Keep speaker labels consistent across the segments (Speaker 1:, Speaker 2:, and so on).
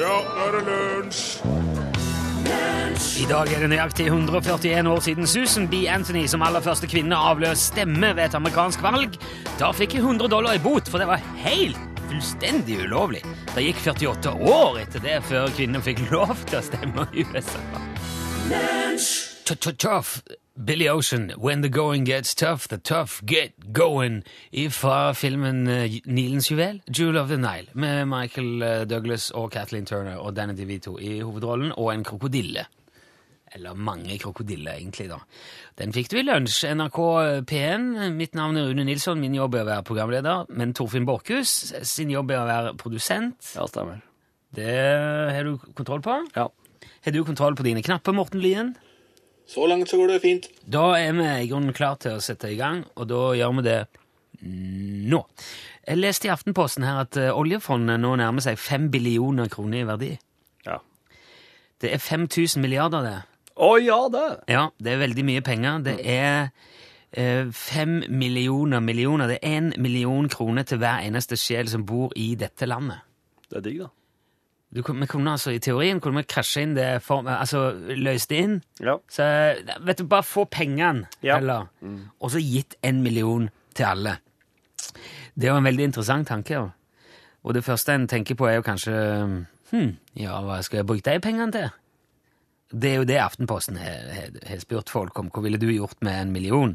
Speaker 1: Ja, nå er det lunsj!
Speaker 2: I dag er det nøyaktig 141 år siden Susan B. Anthony som aller første kvinne avløs stemme ved et amerikansk valg. Da fikk hun 100 dollar i bot, for det var helt fullstendig ulovlig. Det gikk 48 år etter det før kvinner fikk lov til å stemme i USA. T- t- Tough, Billy Ocean, When the Going Gets Tough, The Tough Get Going, fra filmen eh, Nilens juvel, Jewel of the Nile, med Michael eh, Douglas og Kathleen Turner og Danny DeVito i hovedrollen, og en krokodille. Eller mange krokodiller, egentlig, da. Den fikk du i lunsj. NRK eh, P1. Mitt navn er Rune Nilsson. Min jobb er å være programleder. Men Torfinn Borchhus eh, sin jobb er å være produsent.
Speaker 3: Ja, stemmer.
Speaker 2: Det har du kontroll på.
Speaker 3: Ja.
Speaker 2: Har du kontroll på dine knapper, Morten Lien?
Speaker 4: Så langt så går det fint.
Speaker 2: Da er vi i grunnen klar til å sette i gang, og da gjør vi det nå. Jeg leste i Aftenposten her at eh, oljefondet nå nærmer seg 5 billioner kroner i verdi.
Speaker 3: ja.
Speaker 2: Det er 5000 milliarder, det.
Speaker 3: Å ja, det!
Speaker 2: Ja, det er veldig mye penger. Det er eh, fem millioner millioner. Det er én million kroner til hver eneste sjel som bor i dette landet.
Speaker 3: Det er digg, da.
Speaker 2: Du, kunne- vi kunne altså, I teorien kunne vi krasje inn det for, altså, løst det inn.
Speaker 3: Ja.
Speaker 2: Så vet du, bare få pengene,
Speaker 3: Ja.
Speaker 2: heller. Og så gitt en million til alle. Det er jo en veldig interessant tanke. jo. Og det første en tenker på, er jo kanskje Hm, ja, hva skal jeg bruke de pengene til? Det er jo det Aftenposten har- har har spurt folk om. Hva ville du gjort med en million?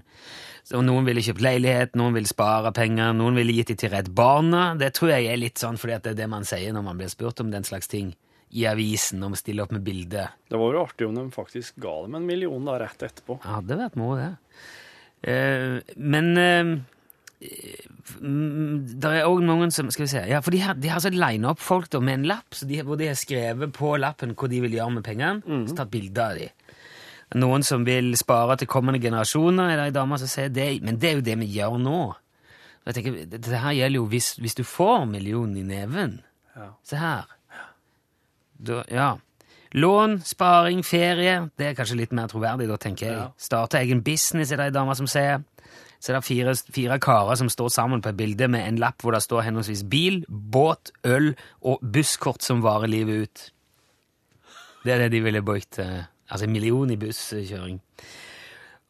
Speaker 2: Så noen ville kjøpt leilighet, noen ville spare penger, noen ville gitt de til Redd Barna. Det tror jeg er litt sånn fordi at det er det man sier når man blir spurt om den slags ting i avisen, når man stiller opp med bilder.
Speaker 3: Det var jo artig om de faktisk ga dem en million da rett etterpå.
Speaker 2: Ja, hadde vært moro, det. Eh, men det er òg noen som Skal vi se. Ja, for de har, de har så lina opp folk da, med en lapp så de, hvor de har skrevet på lappen hva de vil gjøre med pengene.
Speaker 3: Mhm.
Speaker 2: Så tatt bilder av de. Noen som vil spare til kommende generasjoner, er det ei dame som sier det. Men det er jo det vi gjør nå. Og Jeg tenker, det- Dette her gjelder jo hvis, hvis du får millionen i neven.
Speaker 3: Ja.
Speaker 2: Se her. Da, ja. Lån, sparing, ferie. Det er kanskje litt mer troverdig, da, tenker jeg.
Speaker 3: Ja.
Speaker 2: Starte egen business, er det ei dame som sier. Så er det fire, fire karer som står sammen på et bilde med en lapp hvor det står henholdsvis bil, båt, øl og busskort som varer livet ut. Det er det de ville brukt. eh, Altså en million i busskjøring.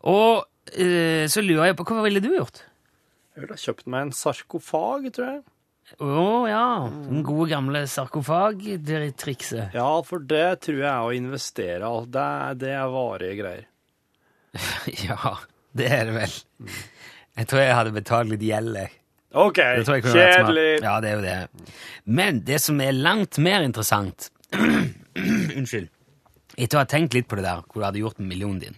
Speaker 2: Og eh, så lurer jeg på, hva ville du gjort?
Speaker 3: Jeg ville ha kjøpt meg en sarkofag, tror jeg.
Speaker 2: Å ja, den gode gamle sarkofag-trikset.
Speaker 3: Ja, for det tror jeg er å investere. alt. Det er, det er varige greier.
Speaker 2: Ja, det er det vel. Jeg tror jeg hadde betalt litt gjeld. jeg.
Speaker 3: OK,
Speaker 2: Det tror jeg kunne vært smart.
Speaker 3: kjedelig.
Speaker 2: Ja, det er jo det. Men det som er langt mer interessant Unnskyld. Etter å ha tenkt litt på det der, hvor du hadde gjort med millionen din,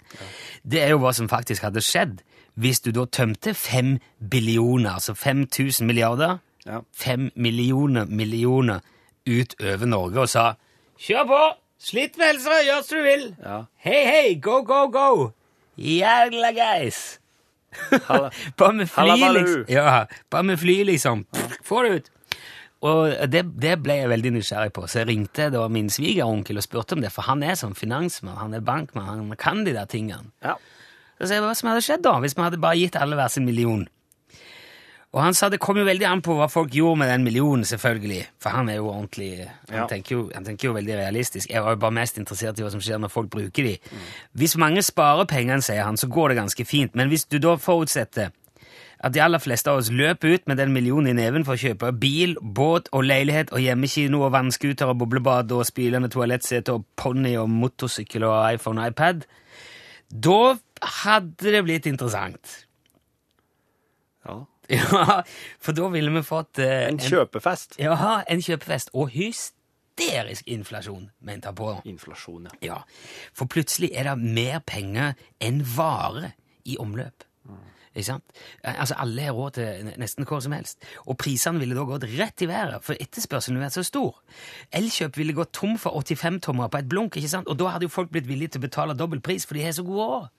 Speaker 2: det er jo hva som faktisk hadde skjedd hvis du da tømte fem billioner, altså 5000 milliarder,
Speaker 3: Ja.
Speaker 2: fem millioner millioner utover Norge og sa Kjør på! Slitt med helsa, gjør som du vil!
Speaker 3: Ja.
Speaker 2: Hei, hei, go, go, go! Jævla guys!
Speaker 3: Halla.
Speaker 2: Bare med fly,
Speaker 3: Hallabaloo.
Speaker 2: liksom. Ja, bare med fly, liksom. Pff, Få det ut. Og det, det ble jeg veldig nysgjerrig på, så jeg ringte da min svigeronkel og spurte om det, for han er sånn finansmann, han er bankmann, han kan de der tingene.
Speaker 3: Ja.
Speaker 2: Så sa jeg hva som hadde skjedd da, hvis vi hadde bare gitt alle hver sin million. Og han sa det kom jo veldig an på hva folk gjorde med den millionen, selvfølgelig. For han er jo ordentlig Han,
Speaker 3: Ja.
Speaker 2: tenker, jo, han tenker jo veldig realistisk. Jeg var jo bare mest interessert i hva som skjer når folk bruker de. Hvis mange sparer pengene, sier han, så går det ganske fint. Men hvis du da forutsetter at de aller fleste av oss løper ut med den millionen i neven for å kjøpe bil, båt og leilighet og hjemmekino og vannskuter og boblebad og spylende toalettsete og ponni og motorsykkel og iPhone og iPad, da hadde det blitt interessant.
Speaker 3: ja.
Speaker 2: Ja, for da ville vi fått eh,
Speaker 3: En kjøpefest.
Speaker 2: en, ja, en kjøpefest og hysterisk inflasjon, mente han på.
Speaker 3: Inflasjon, ja.
Speaker 2: Ja, For plutselig er det mer penger enn vare i omløp. Ikke sant? Eh, Altså, Alle har råd til n- nesten hva som helst. Og prisene ville da gått rett i været, for etterspørselen ville vært så stor. Elkjøp ville gått tom for 85-tommere på et blunk, ikke sant? og da hadde jo folk blitt villige til å betale dobbel pris, for de har så god råd.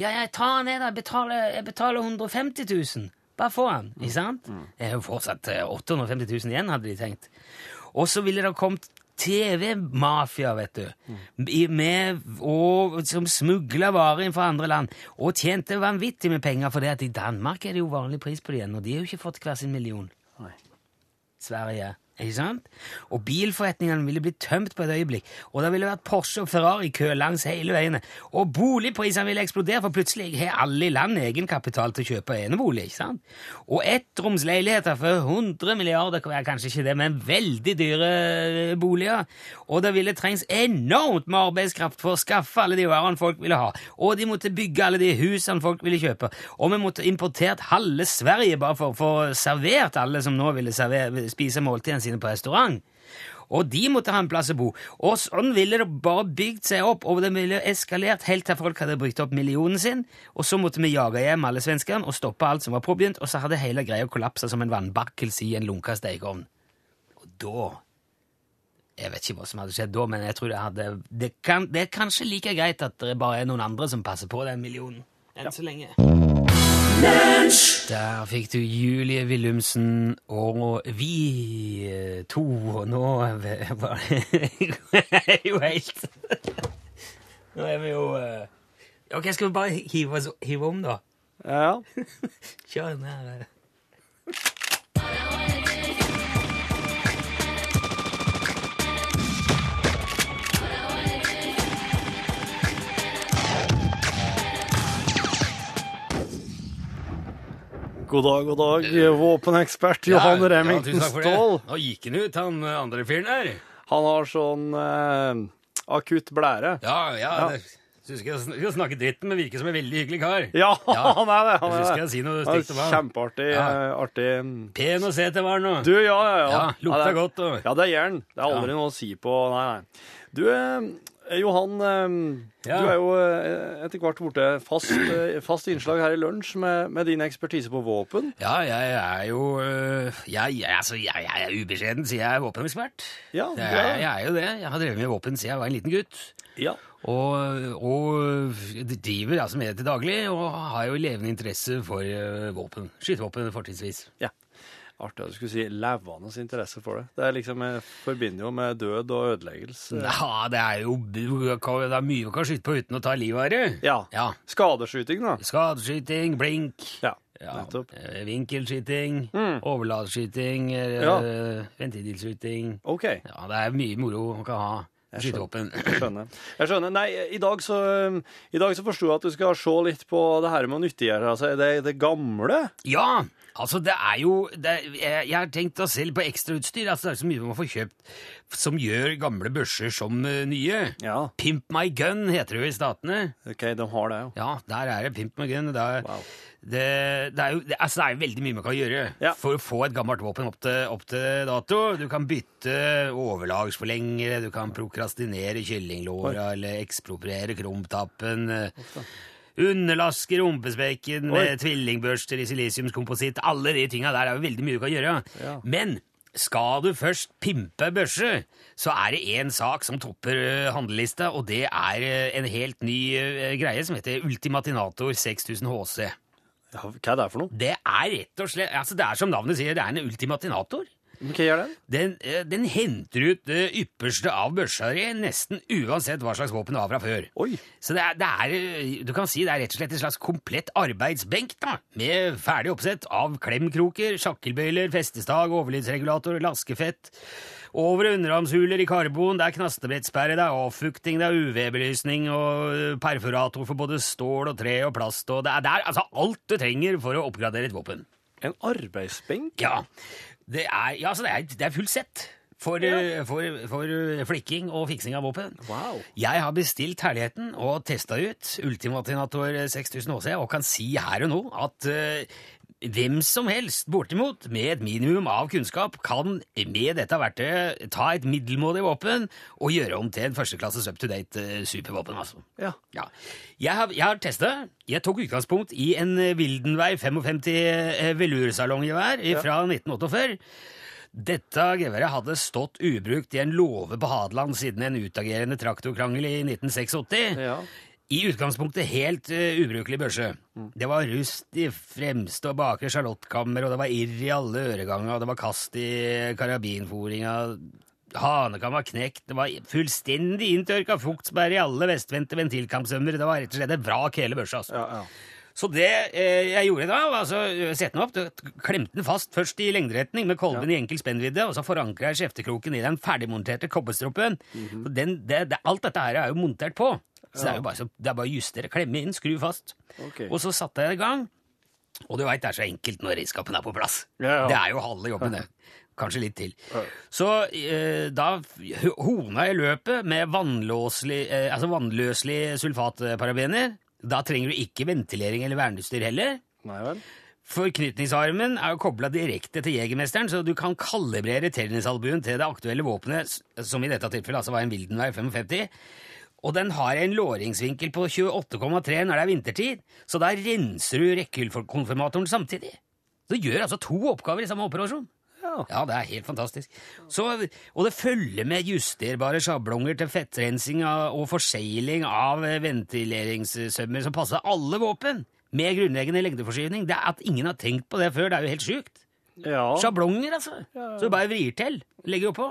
Speaker 2: Ja, jeg tar den ned, jeg betaler, jeg betaler 150 000. Bare få den, ikke sant? Det er jo fortsatt eh, 850 000 igjen, hadde de tenkt. Og så ville det kommet TV-mafia, vet du, i- med, og, som smugla varer inn fra andre land, og tjente vanvittig med penger, for i Danmark er det jo vanlig pris på det igjen, og de har jo ikke fått hver sin million.
Speaker 3: Nei.
Speaker 2: Sverige Ikke sant? Og bilforretningene ville blitt tømt på et øyeblikk, og det ville vært Porsche og Ferrari-kø langs hele veiene, og boligprisene ville eksplodere, for plutselig har alle i landet egenkapital til å kjøpe enebolig, ikke sant? Og ettromsleiligheter for 100 milliarder hver, kanskje ikke det, men veldig dyre eh, boliger, og det ville trengs enormt med arbeidskraft for å skaffe alle de varene folk ville ha, og de måtte bygge alle de husene folk ville kjøpe, og vi måtte importert halve Sverige bare for å få servert alle som nå ville server- spise måltidene sine på restaurant. Og de måtte ha en plass å bo. Og sånn ville det bare bygd seg opp, og det ville eskalert helt til folk hadde brukt opp millionen sin, og så måtte vi jage hjem alle svenskene og stoppe alt som var påbegynt, og så hadde hele greia kollapsa som en vannbakkelse i en lunka stekeovn. Og da jeg vet ikke hva som hadde skjedd da, men jeg tror det hadde Det, kan, det er kanskje like greit at det bare er noen andre som passer på den millionen. Enn så lenge. Der fikk du Julie Willumsen og vi eh, to, og nå var det jo helt Nå er vi jo eh, Ok, skal vi bare hive, oss, hive om, da?
Speaker 3: Ja, ja.
Speaker 2: Kjør den her. eh.
Speaker 3: God dag, god dag, våpenekspert Johan Remington Ståhl.
Speaker 2: Nå gikk han ut, han andre fyren der.
Speaker 3: Han har sånn eh, akutt blære.
Speaker 2: Ja, ja.
Speaker 3: Ja.
Speaker 2: det- Så husker jeg, jeg skal snakke dritten, men virker som en veldig hyggelig kar.
Speaker 3: Ja,
Speaker 2: Ja.
Speaker 3: han er det! Han
Speaker 2: Jeg
Speaker 3: er
Speaker 2: husker
Speaker 3: det.
Speaker 2: jeg si noe
Speaker 3: Han
Speaker 2: stygt om
Speaker 3: er
Speaker 2: han.
Speaker 3: kjempeartig.
Speaker 2: Ja.
Speaker 3: eh, Artig.
Speaker 2: Pen å se til var nå.
Speaker 3: Du, ja, ja, ja.
Speaker 2: Ja, lukta
Speaker 3: det er-
Speaker 2: godt, og-
Speaker 3: Ja, det er jern. Det er aldri
Speaker 2: Ja.
Speaker 3: noe å si på, nei, nei. Du, eh, Johan, eh,
Speaker 2: Ja.
Speaker 3: du er jo eh, etter hvert borte fast, eh, fast innslag her i lunsj med, med din ekspertise på våpen.
Speaker 2: Ja, jeg er jo øh, jeg, jeg, altså, jeg, jeg er ubeskjeden, sier jeg er våpenekspert.
Speaker 3: Ja,
Speaker 2: Det
Speaker 3: du
Speaker 2: er,
Speaker 3: er det.
Speaker 2: jeg er jo det. Jeg har drevet med våpen siden jeg var en liten gutt.
Speaker 3: Ja.
Speaker 2: Og, og driver altså med det til daglig, og har jo levende interesse for øh, våpen. Skytevåpen, fortrinnsvis.
Speaker 3: Artig at du skulle si levende interesse for det. Det er liksom, jeg forbinder jo med død og ødeleggelse.
Speaker 2: Ja, det er jo det er mye vi kan skyte på uten å ta livet av det.
Speaker 3: Ja.
Speaker 2: Ja.
Speaker 3: Skadeskyting, da.
Speaker 2: Skadeskyting, blink.
Speaker 3: Ja,
Speaker 2: Ja,
Speaker 3: nettopp.
Speaker 2: eh, vinkelskyting,
Speaker 3: Mm.
Speaker 2: overladeskyting, eh,
Speaker 3: Ja.
Speaker 2: ventidilskyting.
Speaker 3: OK,
Speaker 2: Ja, det er mye moro man kan ha. med
Speaker 3: Jeg
Speaker 2: Skytevåpen.
Speaker 3: jeg skjønner. Jeg skjønner. Nei, i dag så, i dag så forsto jeg at du skal se litt på det her med å nyttiggjøre altså, det, det gamle.
Speaker 2: Ja! Altså, det er jo det, er- jeg, jeg har tenkt å se litt på ekstrautstyr. Altså, det er så mye man får kjøpt som gjør gamle børser som eh, nye.
Speaker 3: Ja,
Speaker 2: Pimp my gun heter det jo i Statene.
Speaker 3: OK, de har det, jo.
Speaker 2: Ja, der er det pimp my gun. Det er,
Speaker 3: Wow.
Speaker 2: det, det er jo det, altså, det er jo veldig mye man kan gjøre
Speaker 3: Ja.
Speaker 2: for å få et gammelt våpen opp til, opp til dato. Du kan bytte overlagsforlengere, du kan prokrastinere kyllinglåra eller ekspropriere krumtappen. eh, Underlaske rumpespekken
Speaker 3: Oi.
Speaker 2: med tvillingbørster i silisiumskompositt. Alle de tinga der er jo veldig mye du kan gjøre.
Speaker 3: Ja.
Speaker 2: Men skal du først pimpe børse, så er det én sak som topper eh, handlelista, og det er eh, en helt ny eh, greie som heter Ultimatinator 6000 HC.
Speaker 3: Ja, hva er det for noe?
Speaker 2: Det er rett og slett altså Det er som navnet sier, det er en ultimatinator.
Speaker 3: Men Hva gjør den?
Speaker 2: Den, eh, den henter ut det ypperste av børsa di, nesten uansett hva slags våpen du har fra før.
Speaker 3: Oi.
Speaker 2: Så det er, det er, eh, du kan si det er rett og slett en slags komplett arbeidsbenk, da, med ferdig oppsett av klemkroker, sjakkelbøyler, festestag, overlydsregulator, laskefett, over- og underarmshuler i karbon, det er knastebrettsperre, det er avfukting, det er UV-belysning og eh, perforator for både stål og tre og plast, og det er, det er altså alt du trenger for å oppgradere et våpen.
Speaker 3: En arbeidsbenk?
Speaker 2: Ja, det er, ja, altså det er, det er fullt sett for, eh, for, for eh, flikking og fiksing av våpen.
Speaker 3: Wow.
Speaker 2: Jeg har bestilt herligheten og testa ut Ultimatinator 6000 HC og kan si her og nå at eh, hvem som helst, bortimot, med et minimum av kunnskap, kan med dette verktøyet ta et middelmådig våpen og gjøre om til en førsteklasses up-to-date eh, supervåpen, altså.
Speaker 3: Ja.
Speaker 2: Ja. Jeg har, jeg har testa. Jeg tok utgangspunkt i en eh, Wildenvei 55 eh, velursalonggevær fra 1948. Dette geværet hadde stått ubrukt i en låve på Hadeland siden en utagerende traktorkrangel i 1986.
Speaker 3: ja.
Speaker 2: I utgangspunktet helt eh, ubrukelig børse. Det var rust i fremste og bakre sjalotkammer, og det var irr i alle øreganger, og det var kast i karabinforinga. Hanekam var knekt, det var fullstendig inntørka fuktsperre i alle vestvendte ventilkampsømmer. Det var rett og slett et vrak hele børsa. altså.
Speaker 3: ja, ja.
Speaker 2: Så det eh, jeg gjorde da, var altså eh, sette den opp, da klemte den fast først i lengderetning med kolben i enkel spennvidde, og så forankra jeg skjeftekroken i den ferdigmonterte kobberstroppen. Og den, det, det, alt dette her er jo montert på. Så det er jo bare, så, det er bare å justere, klemme inn, skru fast.
Speaker 3: Ok.
Speaker 2: Og så satte jeg i gang. Og du veit det er så enkelt når redskapen er på plass.
Speaker 3: Ja, ja.
Speaker 2: Det er jo halve jobben, det. Kanskje litt til. Så eh, da h- hona jeg løpet med vannlåselig, eh, altså vannløselig sulfatparabener. Da trenger du ikke ventilering eller verneutstyr heller.
Speaker 3: Nei vel.
Speaker 2: Forknytningsarmen er jo kobla direkte til jegermesteren, så du kan kalibrere tennisalbuen til det aktuelle våpenet, s- som i dette tilfellet altså var en Wildenvei 55. Og den har en låringsvinkel på 28,3 når det er vintertid, så da renser du rekkehullkonfirmatoren samtidig. Så du gjør altså to oppgaver i samme operasjon.
Speaker 3: Ja.
Speaker 2: Ja, det er helt fantastisk. Så, og det følger med justerbare sjablonger til fettrensing av- og forsegling av eh, ventileringssømmer som passer alle våpen, med grunnleggende lengdeforskyvning. Det er At ingen har tenkt på det før, det er jo helt sjukt.
Speaker 3: Ja.
Speaker 2: Sjablonger, altså. Så du bare vrir til. Legger oppå.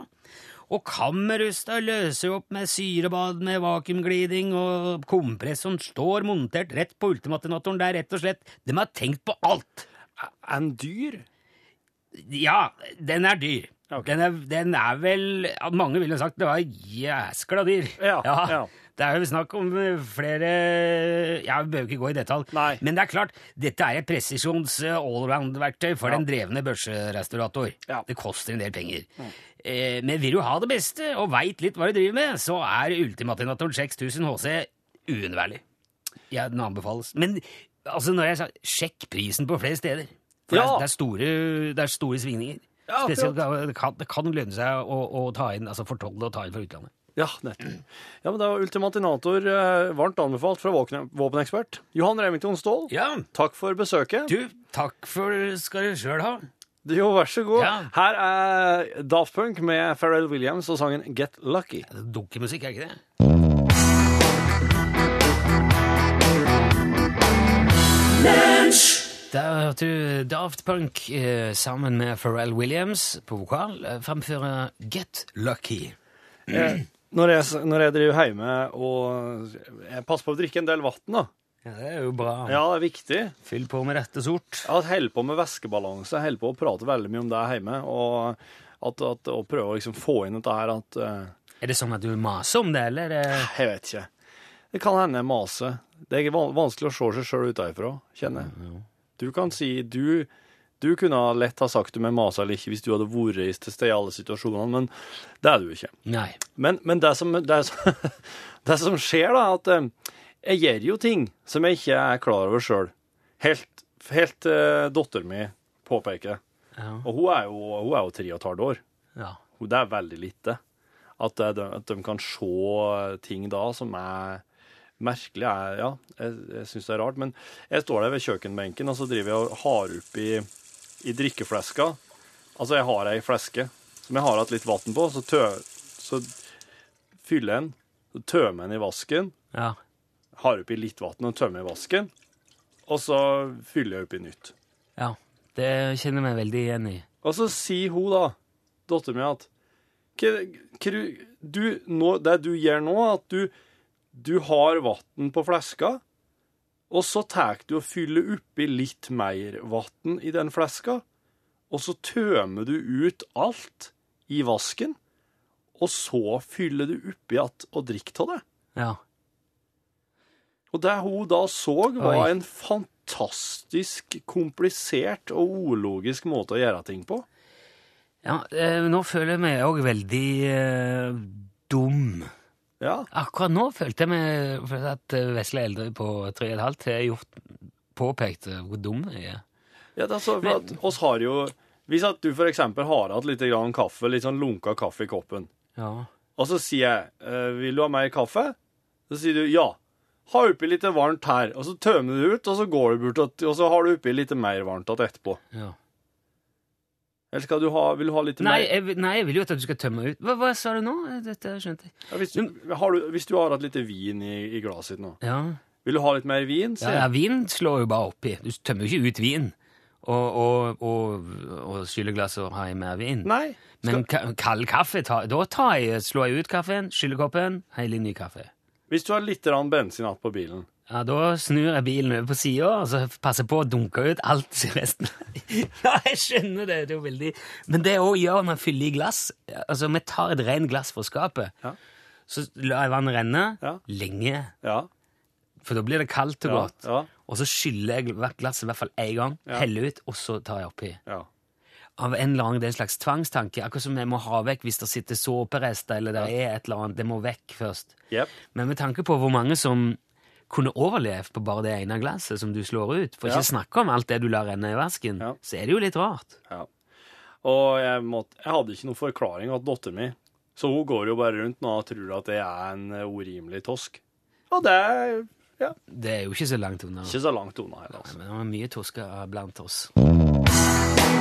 Speaker 2: Og kammerrusta løser opp med syrebad med vakuumgliding, og kompressoren står montert rett på ultimatinatoren. Det er rett og slett De har tenkt på alt!
Speaker 3: En dyr?
Speaker 2: Ja, den er dyr.
Speaker 3: Ok.
Speaker 2: Den, er, den er vel ja, Mange ville sagt det var jæskla dyr.
Speaker 3: Ja, ja.
Speaker 2: Det er jo snakk om eh, flere Ja, Vi behøver ikke gå i detalj.
Speaker 3: Nei.
Speaker 2: Men det er klart, dette er et presisjons eh, allround-verktøy for den drevne børserestaurator.
Speaker 3: Ja. Mm.
Speaker 2: Det koster en del penger. Eh, men vil du ha det beste og veit litt hva du driver med, så er Ultimatinatoren 6000 HC uunnværlig. Ja, den anbefales. Men altså, når jeg sa sjekk prisen på flere steder. For
Speaker 3: Ja.
Speaker 2: det, er, det, er store, det er store svingninger.
Speaker 3: Ja,
Speaker 2: Spesielt, det, kan, det kan lønne seg å, å ta inn, altså fortolle og ta inn fra utlandet.
Speaker 3: Ja, nettopp. Ja, men da var Ultimatinator eh, varmt anbefalt fra våpen- våpenekspert Johan Remington Ståhl.
Speaker 2: Ja,
Speaker 3: Takk for besøket.
Speaker 2: du, takk for skal du sjøl ha.
Speaker 3: Jo, vær så god.
Speaker 2: Ja.
Speaker 3: Her er Daft Punk med Pharrell Williams og sangen Get Lucky.
Speaker 2: Dukkemusikk, Altså, er ikke det? Da hørte du Daft Punk eh, sammen med Pharrell Williams på vokal eh, fremføre Get Lucky.
Speaker 3: Eh, Når jeg, s- når jeg driver hjemme og jeg passer på å drikke en del vann, da.
Speaker 2: Ja, det er jo bra.
Speaker 3: Ja, det er viktig.
Speaker 2: Fyll på med rette sort.
Speaker 3: Jeg holder på med væskebalanse. Jeg holder på å prate veldig mye om det hjemme. Og at, at, å prøve å liksom få inn dette her at eh,
Speaker 2: Er det sånn at du maser om det, eller? eh?
Speaker 3: Jeg vet ikke. Det kan hende jeg maser. Det er van- vanskelig å se seg sjøl utenfra, kjenner jeg. Du kan si du, du kunne ha lett ha sagt om jeg maser eller ikke hvis du hadde vært i- til stede i alle situasjonene, men det er du ikke.
Speaker 2: Nei.
Speaker 3: Men, men det, som, det, som, det som skjer, da, er at eh, jeg gjør jo ting som jeg ikke er klar over sjøl. Helt, helt eh, datteren min påpeker det.
Speaker 2: Ja.
Speaker 3: Og hun er jo, hun er jo tre og et halvt år.
Speaker 2: ja.
Speaker 3: Hun- Det er veldig lite. At, det, er de- at de kan se eh, ting da som er merkelig. Er, ja, jeg, jeg syns det er rart. Men jeg står der ved kjøkkenbenken og så driver jeg og har opp i, i drikkefleska. Altså, jeg har ei fleske som jeg har hatt litt vann på. Så, tø, så fyller jeg den, så tømmer jeg den i vasken.
Speaker 2: Ja.
Speaker 3: Har oppi litt vann og tømmer i vasken. Og så fyller jeg oppi nytt.
Speaker 2: ja. Det kjenner jeg meg veldig igjen i.
Speaker 3: Og så sier Altså, hun da, datteren min, at «Hva- hva du- du, nå, det du gjør nå, at du, du har vann på fleska, og så tar du og fyller oppi litt mer vann i den fleska, og så tømmer du ut alt i vasken, og så fyller du oppi att og drikker av det.
Speaker 2: Ja.
Speaker 3: Og det hun da så, var
Speaker 2: Oi.
Speaker 3: en fantastisk komplisert og ologisk måte å gjøre ting på.
Speaker 2: ja eh, nå føler jeg meg òg veldig eh, dum.
Speaker 3: Ja,
Speaker 2: Akkurat nå følte jeg meg følte at eh, vesle eldre på tre og et halvt har gjort påpekt eh, hvor dum jeg er.
Speaker 3: Ja, det er så, for at oss har jo Hvis at du for eksempel har hatt litt grann kaffe, litt sånn lunka kaffe i koppen,
Speaker 2: Ja.
Speaker 3: og så sier jeg eh, 'Vil du ha mer kaffe?' Så sier du 'ja'. Ha oppi litt varmt her, og så tømmer du ut, og så går du bort, og- og så har du oppi litt mer varmt igjen etterpå.
Speaker 2: ja.
Speaker 3: Eller skal du ha, vil du ha litt
Speaker 2: Nei,
Speaker 3: mer
Speaker 2: jeg, vil- nei, jeg vil jo at du skal tømme ut Hva, hva sa du nå? Dette skjønte jeg.
Speaker 3: ja, hvis, du, har du, hvis du har hatt litt vin i, i glasset ditt nå,
Speaker 2: Ja.
Speaker 3: vil du ha litt mer vin?
Speaker 2: Ja,
Speaker 3: sier
Speaker 2: ja,
Speaker 3: jeg.
Speaker 2: vin slår jo bare oppi. Du tømmer jo ikke ut vin. Og, og, og, og skyller glasset og har i mer vin.
Speaker 3: Nei. Skal,
Speaker 2: Men ka kald kaffe, ta, da tar jeg, slår jeg ut kaffen, skyller koppen, heller ny kaffe.
Speaker 3: hvis du har litt grann bensin igjen på bilen,
Speaker 2: Ja, Da snur jeg bilen over på sida og så passer jeg på å dunke ut alt resten. ja, jeg skjønner det. det er jo veldig... Men det òg gjør man fyller i glass. Altså, Vi tar et rent glass fra skapet,
Speaker 3: Ja.
Speaker 2: så lar jeg vannet renne
Speaker 3: Ja.
Speaker 2: lenge,
Speaker 3: Ja.
Speaker 2: for da blir det kaldt og
Speaker 3: Ja,
Speaker 2: godt.
Speaker 3: ja.
Speaker 2: Og så skyller jeg hvert glass i hvert fall én gang, heller ut, og så tar jeg oppi.
Speaker 3: ja.
Speaker 2: Av en eller annen det er en slags tvangstanke, akkurat som jeg må ha vekk hvis det sitter såperester eller det er et eller annet. Det må vekk først.
Speaker 3: Jepp.
Speaker 2: Men med tanke på hvor mange som kunne overlevd på bare det ene glasset som du slår ut, for ikke
Speaker 3: Ja.
Speaker 2: å snakke om alt det du lar renne i vasken,
Speaker 3: Ja.
Speaker 2: så er det jo litt rart.
Speaker 3: Ja. Og jeg, måtte, jeg hadde ikke noen forklaring at datter mi, så hun går jo bare rundt nå og tror at jeg er en eh, urimelig tosk. Og det er ja,
Speaker 2: Det er jo ikke så langt unna.
Speaker 3: ikke så langt unna heller, altså.
Speaker 2: Men det var mye tosker blant oss.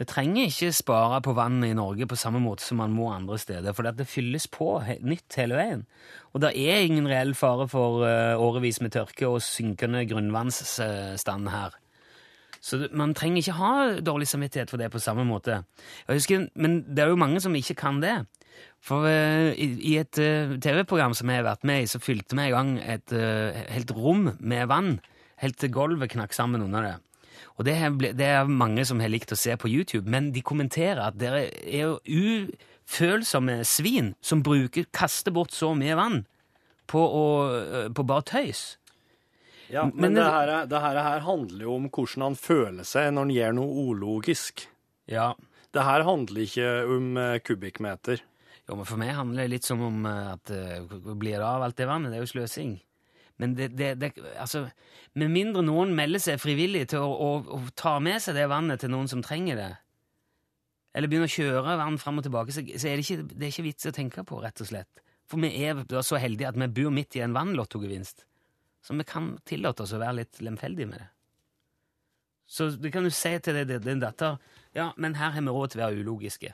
Speaker 2: vi trenger ikke spare på vannet i Norge på samme måte som man må andre steder, for det fylles på he nytt hele veien. Og det er ingen reell fare for eh, årevis med tørke og synkende grunnvannsstand her. Så det- man trenger ikke ha dårlig samvittighet for det på samme måte. Jeg husker, men det er jo mange som ikke kan det. For eh, i, i et eh, TV-program som jeg har vært med i, så fylte vi i gang et eh, helt rom med vann. Helt til gulvet knakk sammen under det. Og det, har ble, det er mange som har likt å se på YouTube, men de kommenterer at dere er jo ufølsomme svin som bruker, kaster bort så mye vann på, å, eh, på bare tøys.
Speaker 3: Ja, men
Speaker 2: Men-
Speaker 3: det, her, er- det her, her handler jo om hvordan han føler seg når han gjør noe ologisk.
Speaker 2: Ja,
Speaker 3: Det her handler ikke om eh, kubikkmeter.
Speaker 2: Jo, men For meg handler det litt som om eh, at eh, hvor blir det av alt det vannet? Det er jo sløsing. Men det, det, det Altså, med mindre noen melder seg frivillig til å, å, å ta med seg det vannet til noen som trenger det, eller begynner å kjøre vann fram og tilbake, så, så er det, ikke, det er ikke vits å tenke på, rett og slett. For vi er da så heldige at vi bor midt i en vannlottogevinst, så vi kan tillate oss å være litt lemfeldige med det. Så du kan jo si til din- din datter Ja, men her har vi råd til å være ulogiske.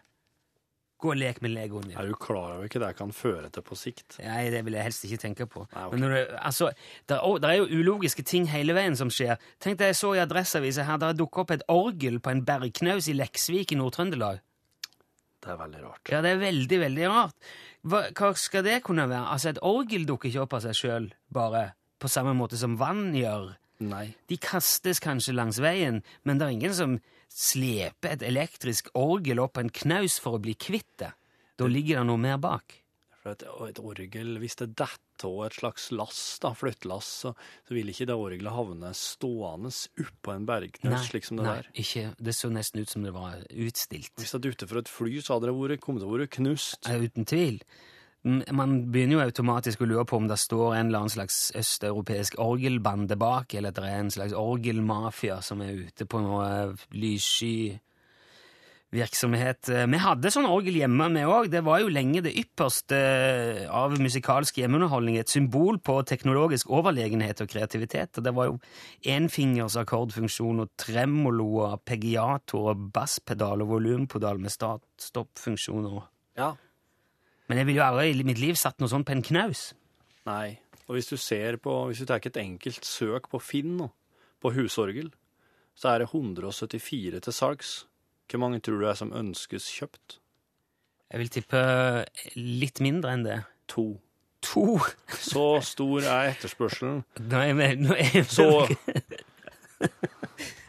Speaker 2: Gå og lek med legoen din.
Speaker 3: Er du klar over hva det kan føre til på sikt?
Speaker 2: Nei, det vil jeg helst ikke tenke på.
Speaker 3: Nei, ok.
Speaker 2: Men når det, altså, der, å, der er jo ulogiske ting hele veien som skjer. Tenk deg, jeg så i Adresseavisa her, der dukket opp et orgel på en bergknaus i Leksvik i Nord-Trøndelag.
Speaker 3: Det er veldig rart.
Speaker 2: Ja, det er veldig, veldig rart. Hva, hva skal det kunne være? Altså, et orgel dukker ikke opp av seg sjøl, bare. På samme måte som vann gjør.
Speaker 3: Nei.
Speaker 2: De kastes kanskje langs veien, men det er ingen som sleper et elektrisk orgel opp på en knaus for å bli kvitt det. Da ligger det noe mer bak.
Speaker 3: For et, og et orgel, hvis det detter av et slags lass, da, flyttelass, så, så vil ikke det orgelet havne stående oppå en bergknaus slik som liksom det
Speaker 2: nei,
Speaker 3: der.
Speaker 2: ikke. Det så nesten ut som det var utstilt.
Speaker 3: Hvis det er ute for et fly, så hadde det vært, kommet til å være knust.
Speaker 2: Ja, Uten tvil. M- Man begynner jo automatisk å lure på om det står en eller annen slags østeuropeisk orgelbande bak, eller at det er en slags orgelmafia som er ute på noe eh, lyssky virksomhet. Eh, Vi hadde sånn orgel hjemme, vi òg. Det var jo lenge det ypperste eh, av musikalsk hjemmeunderholdning. Et symbol på teknologisk overlegenhet og kreativitet. Og det var jo enfingers akkordfunksjon og tremolo og arpeggiator og basspedal og volumpedal med start-stopp-funksjoner.
Speaker 3: Ja.
Speaker 2: Men jeg ville jo aldri i mitt liv satt noe sånt på en knaus.
Speaker 3: Nei. Og hvis du ser på, hvis du tar et enkelt søk på Finn nå, på husorgel, så er det 174 til salgs. Hvor mange tror du er som ønskes kjøpt?
Speaker 2: Jeg vil tippe eh, litt mindre enn det.
Speaker 3: To.
Speaker 2: To!
Speaker 3: Så stor er etterspørselen.
Speaker 2: Nå er vi, nå er vi
Speaker 3: Så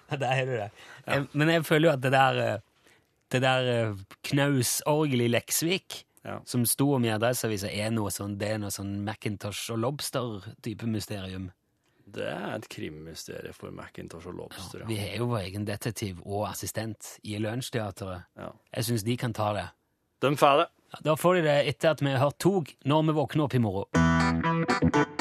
Speaker 2: Ja, Der har du det. Jeg, men jeg føler jo at det der eh, det der eh, knausorgelet i Leksvik
Speaker 3: Ja.
Speaker 2: som sto om i Adresseavisa, er noe sånn, det er noe sånn Macintosh og Lobster-type mysterium.
Speaker 3: det er et krimmysterium for Macintosh og Lobster.
Speaker 2: Vi har jo vår egen detektiv og assistent i Lunsjteatret.
Speaker 3: Ja.
Speaker 2: Jeg syns de kan ta det.
Speaker 3: De får det.
Speaker 2: Ja, Da får de det etter at vi har hørt tog når vi våkner opp i morgen.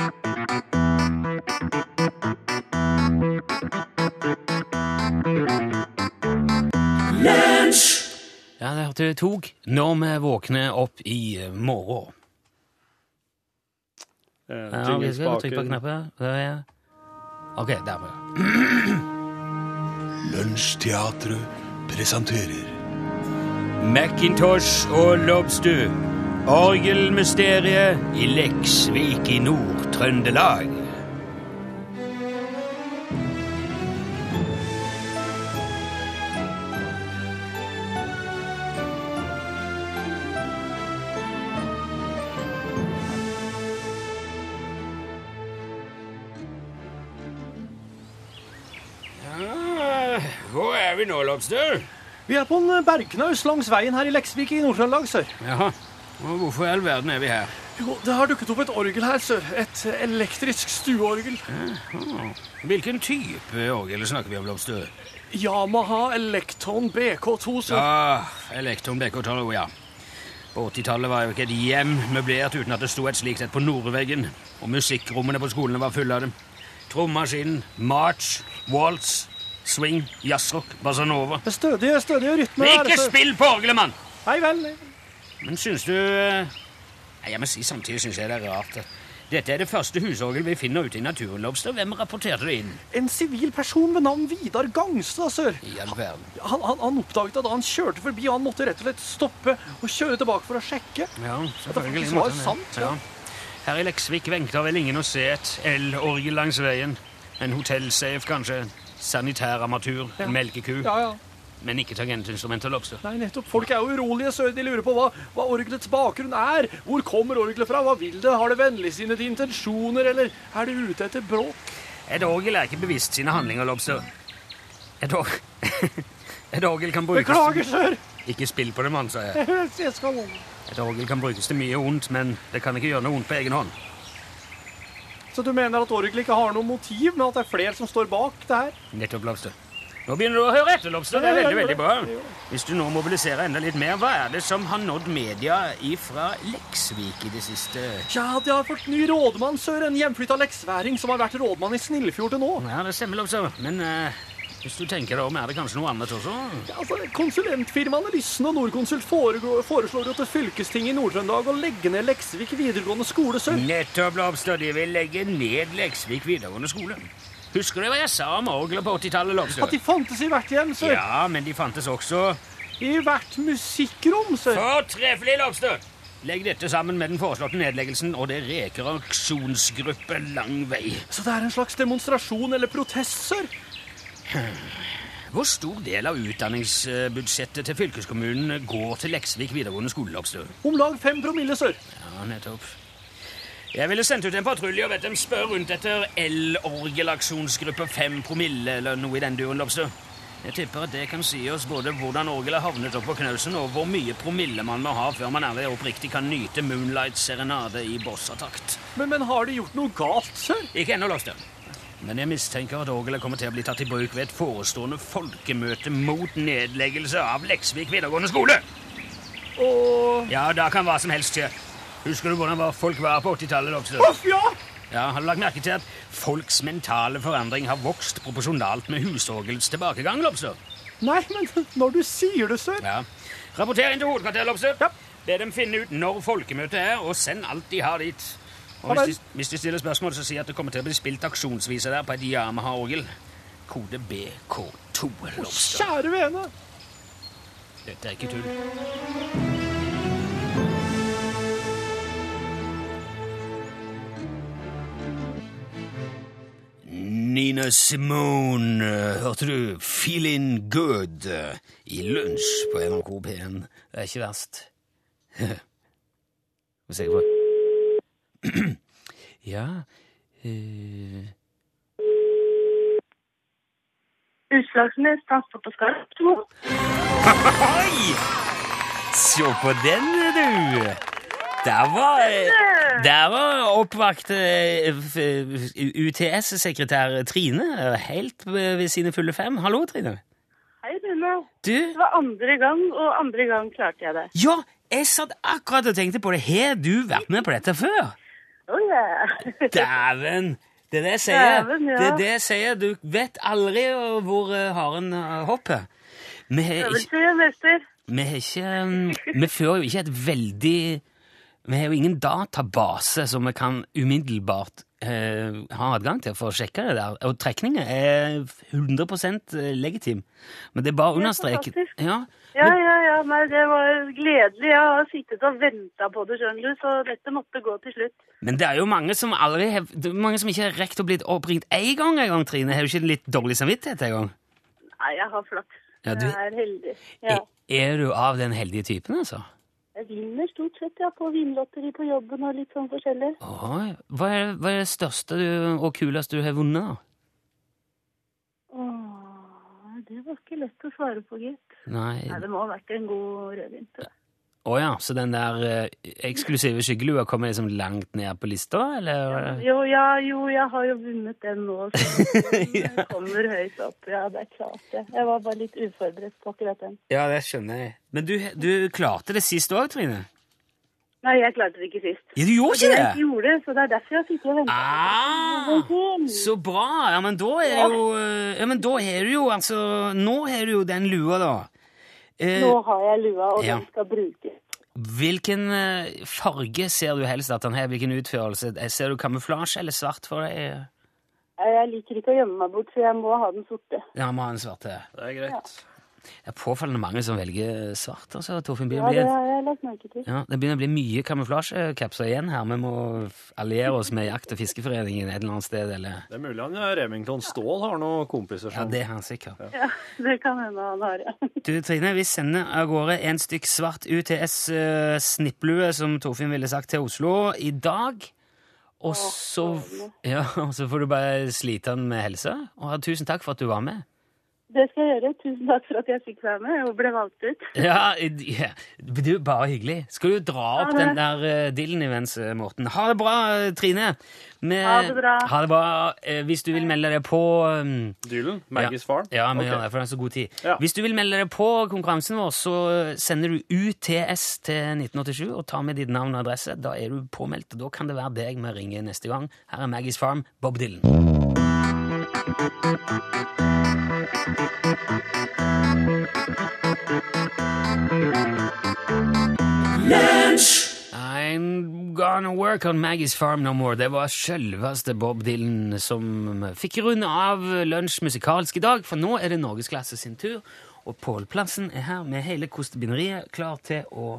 Speaker 2: Ja, det hørte du tog når vi våkner opp i eh, morgen.
Speaker 3: Eh,
Speaker 2: Ja, vi skal
Speaker 3: jinglespaken.
Speaker 2: trykke på knappen. Der er jeg. Ok, der var jeg.
Speaker 1: Lunsjteatret presenterer
Speaker 2: Macintosh og Lobster Orgelmysteriet i Leksvik i Nord-Trøndelag. Eh, Hvor er vi nå, Lobster?
Speaker 3: Vi er på en bergknaus langs veien her i Leksvik i Nord-Trøndelag, sør.
Speaker 2: Jaha, og hvorfor i all verden er vi her?
Speaker 3: Jo, det har dukket opp et orgel her, sør. Et elektrisk stueorgel.
Speaker 2: Hvilken type orgel snakker vi om, Blomster?
Speaker 3: Yamaha Electron BK2, sør.
Speaker 2: Ah, Elektron BK12, ja. På 80-tallet var jo ikke et hjem møblert uten at det sto et slikt et på nordveggen, og musikkrommene på skolene var fulle av dem. Trommaskinen, march, waltz, swing, jazzrock, bassanova.
Speaker 3: Det er stødige, stødige rytmer her, altså.
Speaker 2: Ikke
Speaker 3: sør.
Speaker 2: spill på orgelet, mann!
Speaker 3: Nei vel.
Speaker 2: Men syns du eh, Nei, jeg må si Samtidig syns jeg det er rart. Dette er det første husorgel vi finner ute i naturen, Lobster. Hvem rapporterte det inn?
Speaker 3: En sivil person ved navn Vidar Gangstad, sør.
Speaker 2: I all verden.
Speaker 3: Han, han, han oppdaget det da han kjørte forbi, og han måtte rett og slett stoppe og kjøre tilbake for å sjekke.
Speaker 2: Ja, selvfølgelig.
Speaker 3: faktisk
Speaker 2: måtte
Speaker 3: var
Speaker 2: han det.
Speaker 3: sant, ja.
Speaker 2: ja. Her i Leksvik venter vel ingen å se et elorgel langs veien. En hotellsafe, kanskje. Sanitærarmatur. En melkeku.
Speaker 3: Ja, ja.
Speaker 2: Men ikke tangentinstrumenter, Lobster.
Speaker 3: Nei, nettopp. Folk er jo urolige, sør. De lurer på hva, hva orgelets bakgrunn er. Hvor kommer orgelet fra? Hva vil det? Har det vennligsinnede intensjoner, eller er det ute etter bråk?
Speaker 2: Et orgel er ikke bevisst sine handlinger, Lobster. Et, or et orgel kan brukes
Speaker 3: Beklager, sør!
Speaker 2: Ikke spill på det, mann, sa jeg.
Speaker 3: Jeg skal holde.
Speaker 2: Et orgel kan brukes til mye ondt, men det kan ikke gjøre noe ondt på egen hånd.
Speaker 3: Så du mener at orgelet ikke har noe motiv, men at det er flere som står bak det her?
Speaker 2: Nettopp, Lobster. Nå begynner du å høre etter, Lobster. Det er veldig, veldig bra.
Speaker 3: Ja.
Speaker 2: Hvis du nå mobiliserer enda litt mer, hva er det som har nådd media ifra Leksvik i det siste?
Speaker 3: Ja, de har fått ny rådmann, sør. En hjemflytta leksværing som har vært rådmann i Snillfjord til nå.
Speaker 2: Ja, det stemmer, Lobster. Men eh, hvis du tenker deg om, er det kanskje noe annet også?
Speaker 3: Ja, Altså, Konsulentfirmaene Lyssen og Norconsult foregår- foreslår jo til fylkestinget i Nord-Trøndelag å legge ned Leksvik videregående skole, sør.
Speaker 2: Nettopp, Lobster. De vil legge ned Leksvik videregående skole. Husker du hva jeg sa om orgelet på 80-tallet,
Speaker 3: At
Speaker 2: Lobster?
Speaker 3: de fantes i hvert hjem, sør.
Speaker 2: Ja, men de fantes også
Speaker 3: I hvert musikkrom, sør.
Speaker 2: Fortreffelig, Lobster! Legg dette sammen med den foreslåtte nedleggelsen, og det reker aksjonsgruppe lang vei.
Speaker 3: Så det er en slags demonstrasjon eller protest, sør.
Speaker 2: Hvor stor del av utdanningsbudsjettet til fylkeskommunen går til Leksvik videregående skole, Lobster?
Speaker 3: Om lag fem promille, sør.
Speaker 2: Ja, nettopp. Jeg ville sendt ut en patrulje og bedt dem spørre rundt etter elorgelaksjonsgruppe 5 promille eller noe i den duren, Lobster. Jeg tipper at det kan si oss både hvordan orgelet havnet opp på knausen, og hvor mye promille man må ha før man ærlig oppriktig kan nyte Moonlight Serenade i bossatakt.
Speaker 3: Men, men har de gjort noe galt, sør?
Speaker 2: Ikke ennå, Lobster. Men jeg mistenker at orgelet kommer til å bli tatt i bruk ved et forestående folkemøte mot nedleggelse av Leksvik videregående skole.
Speaker 3: Og
Speaker 2: Ja, da kan hva som helst skje. Husker du hvordan var- folk var på 80-tallet, Lobster?
Speaker 3: Uff, ja!
Speaker 2: Ja, Har du lagt merke til at folks mentale forandring har vokst proporsjonalt med husorgelets tilbakegang, Lobster?
Speaker 3: Nei, men når du sier det, sør
Speaker 2: Ja. Rapporter inn til hovedkvarteret, Lobster.
Speaker 3: Ja.
Speaker 2: Be dem finne ut når folkemøtet er, og send alt de har dit. Og
Speaker 3: Ja vel.
Speaker 2: hvis de, hvis de stiller spørsmål, så si at det kommer til å bli spilt aksjonsviser der på et Yamaha-orgel. Kode BK2, Lobster.
Speaker 3: Kjære vene!
Speaker 2: Dette er ikke tull. Nina Simone, eh, hørte du? Feeling good eh, i lunsj på NRK P1. Det er ikke verst. Hva ser jeg på? ja eh,
Speaker 1: Utslagsnes transport og skarp 2.
Speaker 2: Oi! Se på den, du! Der var, der var oppvakt eh, f- f- UTS-sekretær Trine eh, helt eh, ved sine fulle fem. Hallo, Trine.
Speaker 1: Hei, Rune.
Speaker 2: Du?
Speaker 1: Det var andre gang, og andre gang klarte jeg det.
Speaker 2: Ja, jeg satt akkurat og tenkte på det. Har du vært med på dette før?
Speaker 1: Oh, yeah.
Speaker 2: Dæven! Det er det jeg sier.
Speaker 1: Dæven, ja.
Speaker 2: Det er det jeg sier. Du vet aldri eh, hvor eh, haren eh, hopper. Vi har ikke
Speaker 1: Øvelse, mester.
Speaker 2: Vi har ikke um, Vi fører jo ikke et veldig Vi har jo ingen database som vi kan umiddelbart eh, ha adgang til for å sjekke det der. Og trekningen er 100 eh, legitim. Men det er bare å understreke
Speaker 1: fantastisk.
Speaker 2: ja.
Speaker 1: Ja, ja, ja. Ja, nei, det var gledelig. Jeg har sittet og venta på det, skjønner du, så dette måtte gå til slutt.
Speaker 2: Men det er jo mange som aldri har, det er mange som ikke har rekt å bli oppringt én gang, en gang, Trine. Har du ikke litt dårlig samvittighet en gang?
Speaker 1: Nei, jeg har flaks.
Speaker 2: Ja, du- Eh.
Speaker 1: Jeg er heldig. Ja.
Speaker 2: Er- E-, Er du av den heldige typen, altså?
Speaker 1: Jeg vinner stort sett, ja, på vinlotteri på jobben og litt sånn forskjellig.
Speaker 2: Oi. Hva er, hva er det største du, og kuleste du har vunnet? da?
Speaker 1: Åh, det var ikke lett å svare på, gitt.
Speaker 2: Nei
Speaker 1: Nei, det må ha vært en god rødvin. tror jeg.
Speaker 2: Å ja, så den der eh, eksklusive skyggelua kommer liksom langt ned på lista, eller?
Speaker 1: Jo, ja, jo, jeg har jo vunnet den nå, så den eh, kommer høyt opp. Ja, det er klart det. Jeg var bare litt uforberedt på akkurat den.
Speaker 2: Ja, det skjønner jeg. Men du, du klarte det sist òg, Trine?
Speaker 1: Nei, jeg klarte det ikke sist.
Speaker 2: Ja, du gjorde
Speaker 1: Det
Speaker 2: ikke
Speaker 1: jeg
Speaker 2: det?
Speaker 1: ikke gjorde, så det er derfor jeg sitter og venter.
Speaker 2: Ah, så bra! Ja, men da er jo eh, Ja, men da har du jo altså Nå har du jo den lua, da. Eh,
Speaker 1: Nå har jeg lua, og
Speaker 2: Ja.
Speaker 1: den skal brukes.
Speaker 2: hvilken eh, farge ser du helst at den har? Hvilken utførelse? Eh, Ser du kamuflasje eller svart for deg?
Speaker 1: Nei, Jeg liker ikke å gjemme meg bort, så jeg må ha den sorte.
Speaker 2: Ja, må ha en svart til.
Speaker 3: Det er greit.
Speaker 2: Det er påfallende mange som velger svart, altså, Torfinn. Bjørn.
Speaker 1: Ja,
Speaker 2: Blir
Speaker 1: det
Speaker 2: det-
Speaker 1: har jeg lagt merke til.
Speaker 2: Ja, Det begynner å bli mye kamuflasjekapser igjen her. Vi må f- alliere oss med Jakt- og fiskeforeningen et eller annet sted. eller...
Speaker 3: Det er mulig han eh, Remington Ståhl har noen kompiser
Speaker 2: Ja,
Speaker 3: som
Speaker 2: det er han sikkert.
Speaker 1: Ja, det kan hende han har, ja.
Speaker 2: Du, Trine, vi sender av gårde en stykk svart UTS-snipplue, eh, som Torfinn ville sagt, til Oslo i dag. Og så, ja, og så får du bare slite den med helse. Og ja, tusen takk for at du var med.
Speaker 1: Det skal jeg gjøre. Tusen takk for at jeg fikk være med og ble valgt ut.
Speaker 2: Ja, ja, du, bare hyggelig. Skal du dra opp
Speaker 1: Ha det.
Speaker 2: den der eh, dillen imens, eh, Morten? Ha det bra, eh, Trine. Med-
Speaker 1: Ha det bra.
Speaker 2: Ha det bra. Eh, Hvis du vil melde deg på um,
Speaker 3: Dylan, Maggies far.
Speaker 2: Ja, men
Speaker 3: Ok.
Speaker 2: gjør det, for det er så god tid.
Speaker 3: Ja.
Speaker 2: Hvis du vil melde deg på konkurransen vår, så eh, sender du UTS til 1987 og tar med ditt navn og adresse. Da er du påmeldt, og da kan det være deg vi ringer neste gang. Her er Maggie's Farm, Bob Dylan. I'm gonna work on Maggie's Farm no more. Det var selveste Bob Dylan som fikk runde av lunsj musikalsk i dag, for nå er det norgesklasse sin tur. Og Pål Plassen er her med hele kostebinderiet klar til å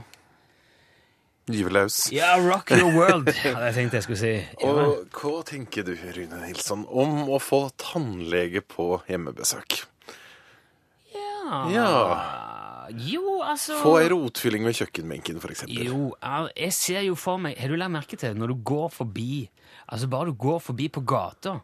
Speaker 5: Livet løs.
Speaker 2: Ja, rock your world, hadde jeg tenkt jeg skulle si. Ja.
Speaker 5: Og hva tenker du, Rune Nilsson, om å få tannlege på hjemmebesøk? Ja.
Speaker 2: Jo, altså
Speaker 5: Få ei rotfylling ved kjøkkenbenken, for eksempel.
Speaker 2: Jo, al- jeg ser jo for meg Har du lagt merke til når du går forbi Altså bare du går forbi på gata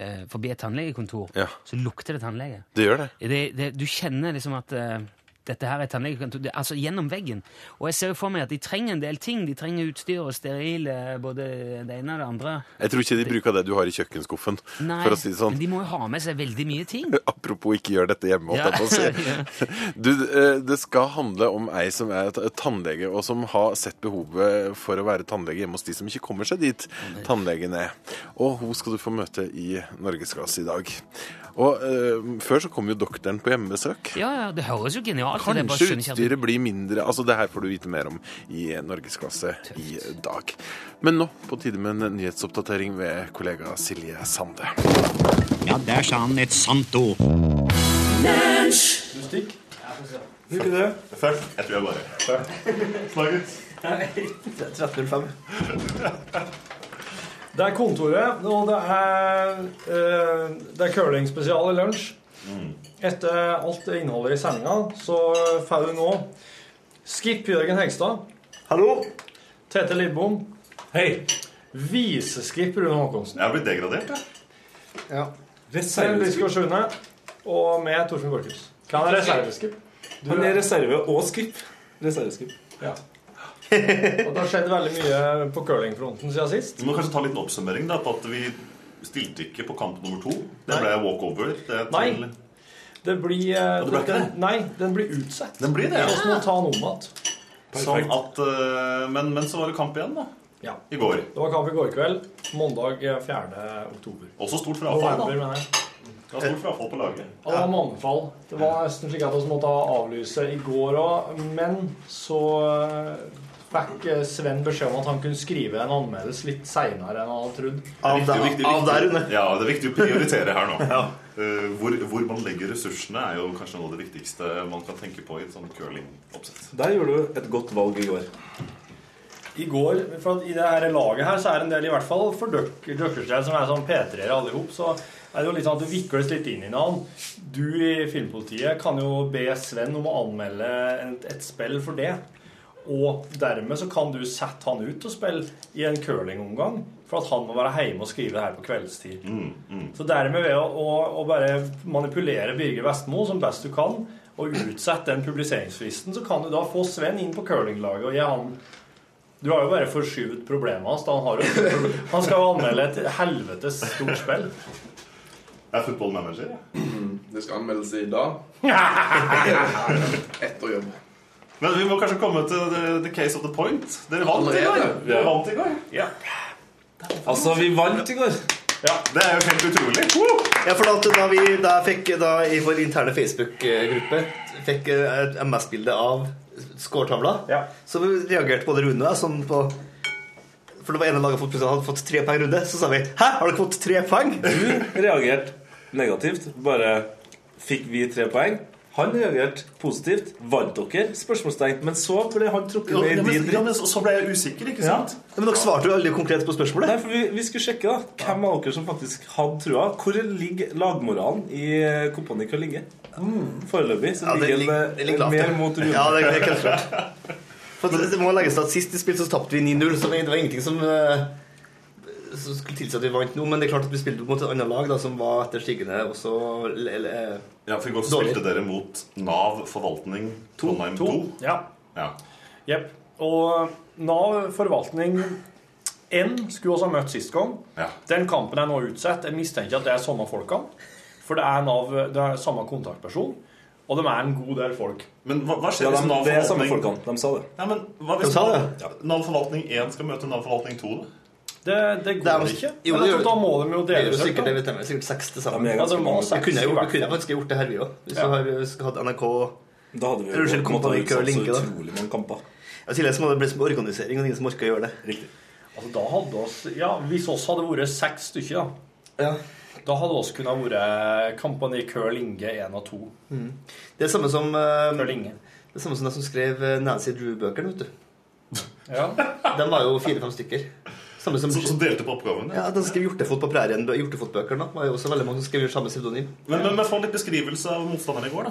Speaker 2: eh, Forbi et tannlegekontor
Speaker 5: Ja.
Speaker 2: Så lukter det tannlege
Speaker 5: Det gjør det.
Speaker 2: det, det, Du kjenner liksom at eh, Dette her er et tannlegekontor det, Altså gjennom veggen Og jeg ser jo for meg at de trenger en del ting De trenger utstyr og sterile Både det ene og det andre
Speaker 5: Jeg tror ikke de bruker det du har i kjøkkenskuffen,
Speaker 2: Nei,
Speaker 5: for å si det sånn.
Speaker 2: men de må jo ha med seg veldig mye ting
Speaker 5: Apropos ikke gjør dette hjemme, holdt jeg på å si. Du, eh, det skal handle om ei som er t- tannlege, og som har sett behovet for å være tannlege hjemme hos de som ikke kommer seg dit tannlegen er. Og hun skal du få møte i Norgesklasse i dag. Og eh, før så kom jo doktoren på hjemmebesøk.
Speaker 2: Ja, ja, det høres jo genialt ut, jeg bare
Speaker 5: Kanskje
Speaker 2: skjønner ikke at du-
Speaker 5: utstyret blir mindre Altså, det her får du vite mer om i Norgesklasse i dag. Men nå på tide med en nyhetsoppdatering ved kollega Silje Sande.
Speaker 6: Ja, der sa
Speaker 2: sånn
Speaker 6: han et sant ord.
Speaker 7: Det er kontoret, og det er, eh, det er curlingspesial i lunsj.
Speaker 8: Mm.
Speaker 7: Etter alt det innholdet i sendinga, så får du nå Skip Jørgen Hegstad.
Speaker 8: Hallo!
Speaker 7: Tete Lidbom.
Speaker 8: Hei!
Speaker 7: Viseskip Rune Håkonsen.
Speaker 8: Jeg har blitt degradert, jeg.
Speaker 7: Ja. Selv
Speaker 8: Reserveskip.
Speaker 7: Biskår Sune. Og med Torfinn Borchhus. Kan jeg reserveskip?
Speaker 8: Han er reserve og skip. Reserveskip.
Speaker 7: Ja. Og det har skjedd veldig mye på curlingfronten siden sist.
Speaker 9: Vi må kanskje ta litt oppsummering da, på at vi stilte ikke på kamp nummer to. Det ble walkover. Det er
Speaker 7: Nei.
Speaker 9: til-
Speaker 7: Det blir eh,
Speaker 9: det ble ikke
Speaker 7: den,
Speaker 9: det?
Speaker 7: Nei, den blir utsatt.
Speaker 9: Den blir det,
Speaker 7: Og så må
Speaker 9: ja.
Speaker 7: vi ta den om igjen.
Speaker 9: Sånn at, eh, men, men så var det kamp igjen, da.
Speaker 7: Ja.
Speaker 9: I går.
Speaker 7: Det var kamp i går kveld. Mandag eh, 4. oktober.
Speaker 9: Også stort frafall, da.
Speaker 7: November, mener jeg.
Speaker 9: Det var stort frafall på laget.
Speaker 7: Og det var mannfall. Det var nesten slik at vi måtte avlyse i går òg. Men så eh, fikk eh, Sven beskjed om at han kunne skrive en anmeldelse litt seinere enn han hadde trodd.
Speaker 5: Av der, inne. Ja, det er viktig å prioritere her nå. Eh, hvor, hvor man legger ressursene, er jo kanskje noe av det viktigste man kan tenke på i et sånn curlingoppsett.
Speaker 3: Der gjorde du et godt valg i går.
Speaker 7: I går, for at i det her laget her, så er det en del, i hvert fall for dere dere selv som er sånn P3-ere alle ihop, så er det jo litt sånn at du vikles litt inn i hverandre. Du i Filmpolitiet kan jo be Sven om å anmelde et, et spill for det. Og dermed så kan du sette han ut og spille i en curlingomgang, for at han må være hjemme og skrive det her på kveldstid. Så dermed ved å, å, å bare manipulere Birger Vestmo som best du kan, og utsette den publiseringsfristen, så kan du da få Sven inn på curlinglaget og gi han du har jo bare forskyvet problemet hans. da. Han, har jo, han skal jo anmelde et helvetes stort spill.
Speaker 5: Jeg er football manager. jeg.
Speaker 10: Det skal anmeldes i dag. Etter jobb.
Speaker 5: Men vi må kanskje komme til the, the case of the point. Dere vant i går.
Speaker 10: Allerede?
Speaker 5: Dere vant i går.
Speaker 7: Ja.
Speaker 3: Altså, vi vant i går.
Speaker 5: Det er jo helt utrolig. Woo!
Speaker 9: Ja, for at da vi da fikk da i vår interne Facebook-gruppe fikk eh, et MS-bilde av skårtavla,
Speaker 7: Ja.
Speaker 9: så reagerte både Rune og jeg som på For det var ene laget fotballspillerne hadde fått tre poeng i runde. Så sa vi 'Hæ, har dere fått tre poeng?'
Speaker 3: Reagert negativt. Bare fikk vi tre poeng. Han reagerte positivt. Vant dere? Spørsmålstegn. Men så ble han trukket
Speaker 5: Ja,
Speaker 3: ned i
Speaker 5: men,
Speaker 3: din
Speaker 5: ja,
Speaker 3: dritt.
Speaker 5: men så, så ble jeg usikker, ikke sant?
Speaker 9: Men dere svarte jo aldri konkret på
Speaker 3: Nei,
Speaker 9: spørsmålet.
Speaker 3: for vi, vi skulle sjekke da hvem av dere som faktisk hadde trua. Hvor ligger lagmoralen i eh, Kompani Kalinge? Foreløpig så
Speaker 9: Ja, det
Speaker 3: ligger den
Speaker 9: ligger- det
Speaker 3: eh,
Speaker 9: ligger lavt,
Speaker 3: mer
Speaker 9: ja.
Speaker 3: mot Rune.
Speaker 9: Ja, det, det er kanskje klart. For det, det må legges til at Sist de spilte, så tapte vi 9-0. Så det var ingenting som, eh, som skulle tilsi at vi vant nå. Men det er klart at vi spilte mot et annet lag da, som var etter stigende også eller,
Speaker 5: Ja, for i går
Speaker 9: Dårlig.
Speaker 5: spilte dere mot Nav forvaltning Trondheim 2.
Speaker 7: Ja.
Speaker 5: Ja.
Speaker 7: Jepp. Og Nav forvaltning 1 skulle også ha møtt sist gang.
Speaker 5: Ja.
Speaker 7: Den kampen er nå utsatt. Jeg mistenker at det er samme folkene. For det er Nav, det er samme kontaktperson, og de er en god del folk.
Speaker 5: Men hva, hva skjer
Speaker 3: Ja,
Speaker 5: hvis
Speaker 3: de,
Speaker 5: Nav
Speaker 3: det er samme
Speaker 5: forvaltning
Speaker 3: folkene. De sa det.
Speaker 5: ja, men, hva hvis
Speaker 9: De sa
Speaker 5: Nav-
Speaker 9: det.
Speaker 5: Ja. Nav forvaltning 1 skal møte Nav forvaltning 2, da?
Speaker 7: Det, det
Speaker 9: Det
Speaker 7: går
Speaker 9: er-
Speaker 7: ikke.
Speaker 9: jo,
Speaker 7: Men
Speaker 9: det
Speaker 7: jeg
Speaker 9: gjør-
Speaker 7: tror da må de jo
Speaker 9: Det er
Speaker 7: dele
Speaker 9: jo
Speaker 7: seg.
Speaker 9: sikkert, det
Speaker 7: da. Altså,
Speaker 9: vet jeg, det er sikkert seks til
Speaker 3: Ja,
Speaker 9: sammen.
Speaker 3: men jeg-
Speaker 7: Ja, det må
Speaker 3: Vi
Speaker 9: Vi
Speaker 7: seks
Speaker 9: kunne
Speaker 7: i
Speaker 9: jo vi
Speaker 7: hvert
Speaker 9: kunne
Speaker 7: fall.
Speaker 9: faktisk gjort det her, vi òg. Hvis
Speaker 7: Ja.
Speaker 9: du har- hvis du hadde NRK
Speaker 3: Da hadde vi
Speaker 9: Unnskyld,
Speaker 3: jo måttet
Speaker 9: Kompani
Speaker 3: ha utsatt så
Speaker 9: Kalinge, da.
Speaker 3: utrolig mange kamper.
Speaker 9: Jeg sier det som hadde blitt som organisering, og det er ingen som orker å gjøre det.
Speaker 3: Riktig.
Speaker 7: Altså, da hadde oss, ja, hvis oss hadde vært seks stykker, da,
Speaker 9: Ja.
Speaker 7: da hadde oss kunnet vært Kampani Curl Inge 1 og 2.
Speaker 9: Det er samme som eh,
Speaker 7: Curl Inge.
Speaker 9: Det er samme som de som skrev eh, Nancy Drew-bøkene, vet du.
Speaker 7: Ja.
Speaker 9: De var jo fire-fem stykker. Samme som
Speaker 5: Som, som delte på oppgavene?
Speaker 9: ja, de skrev Hjortefot på prærien. Hjortefotbøkene da. var jo også veldig mange som skrev samme pseudonym.
Speaker 5: Men, men, men få litt beskrivelse av motstanderen i går,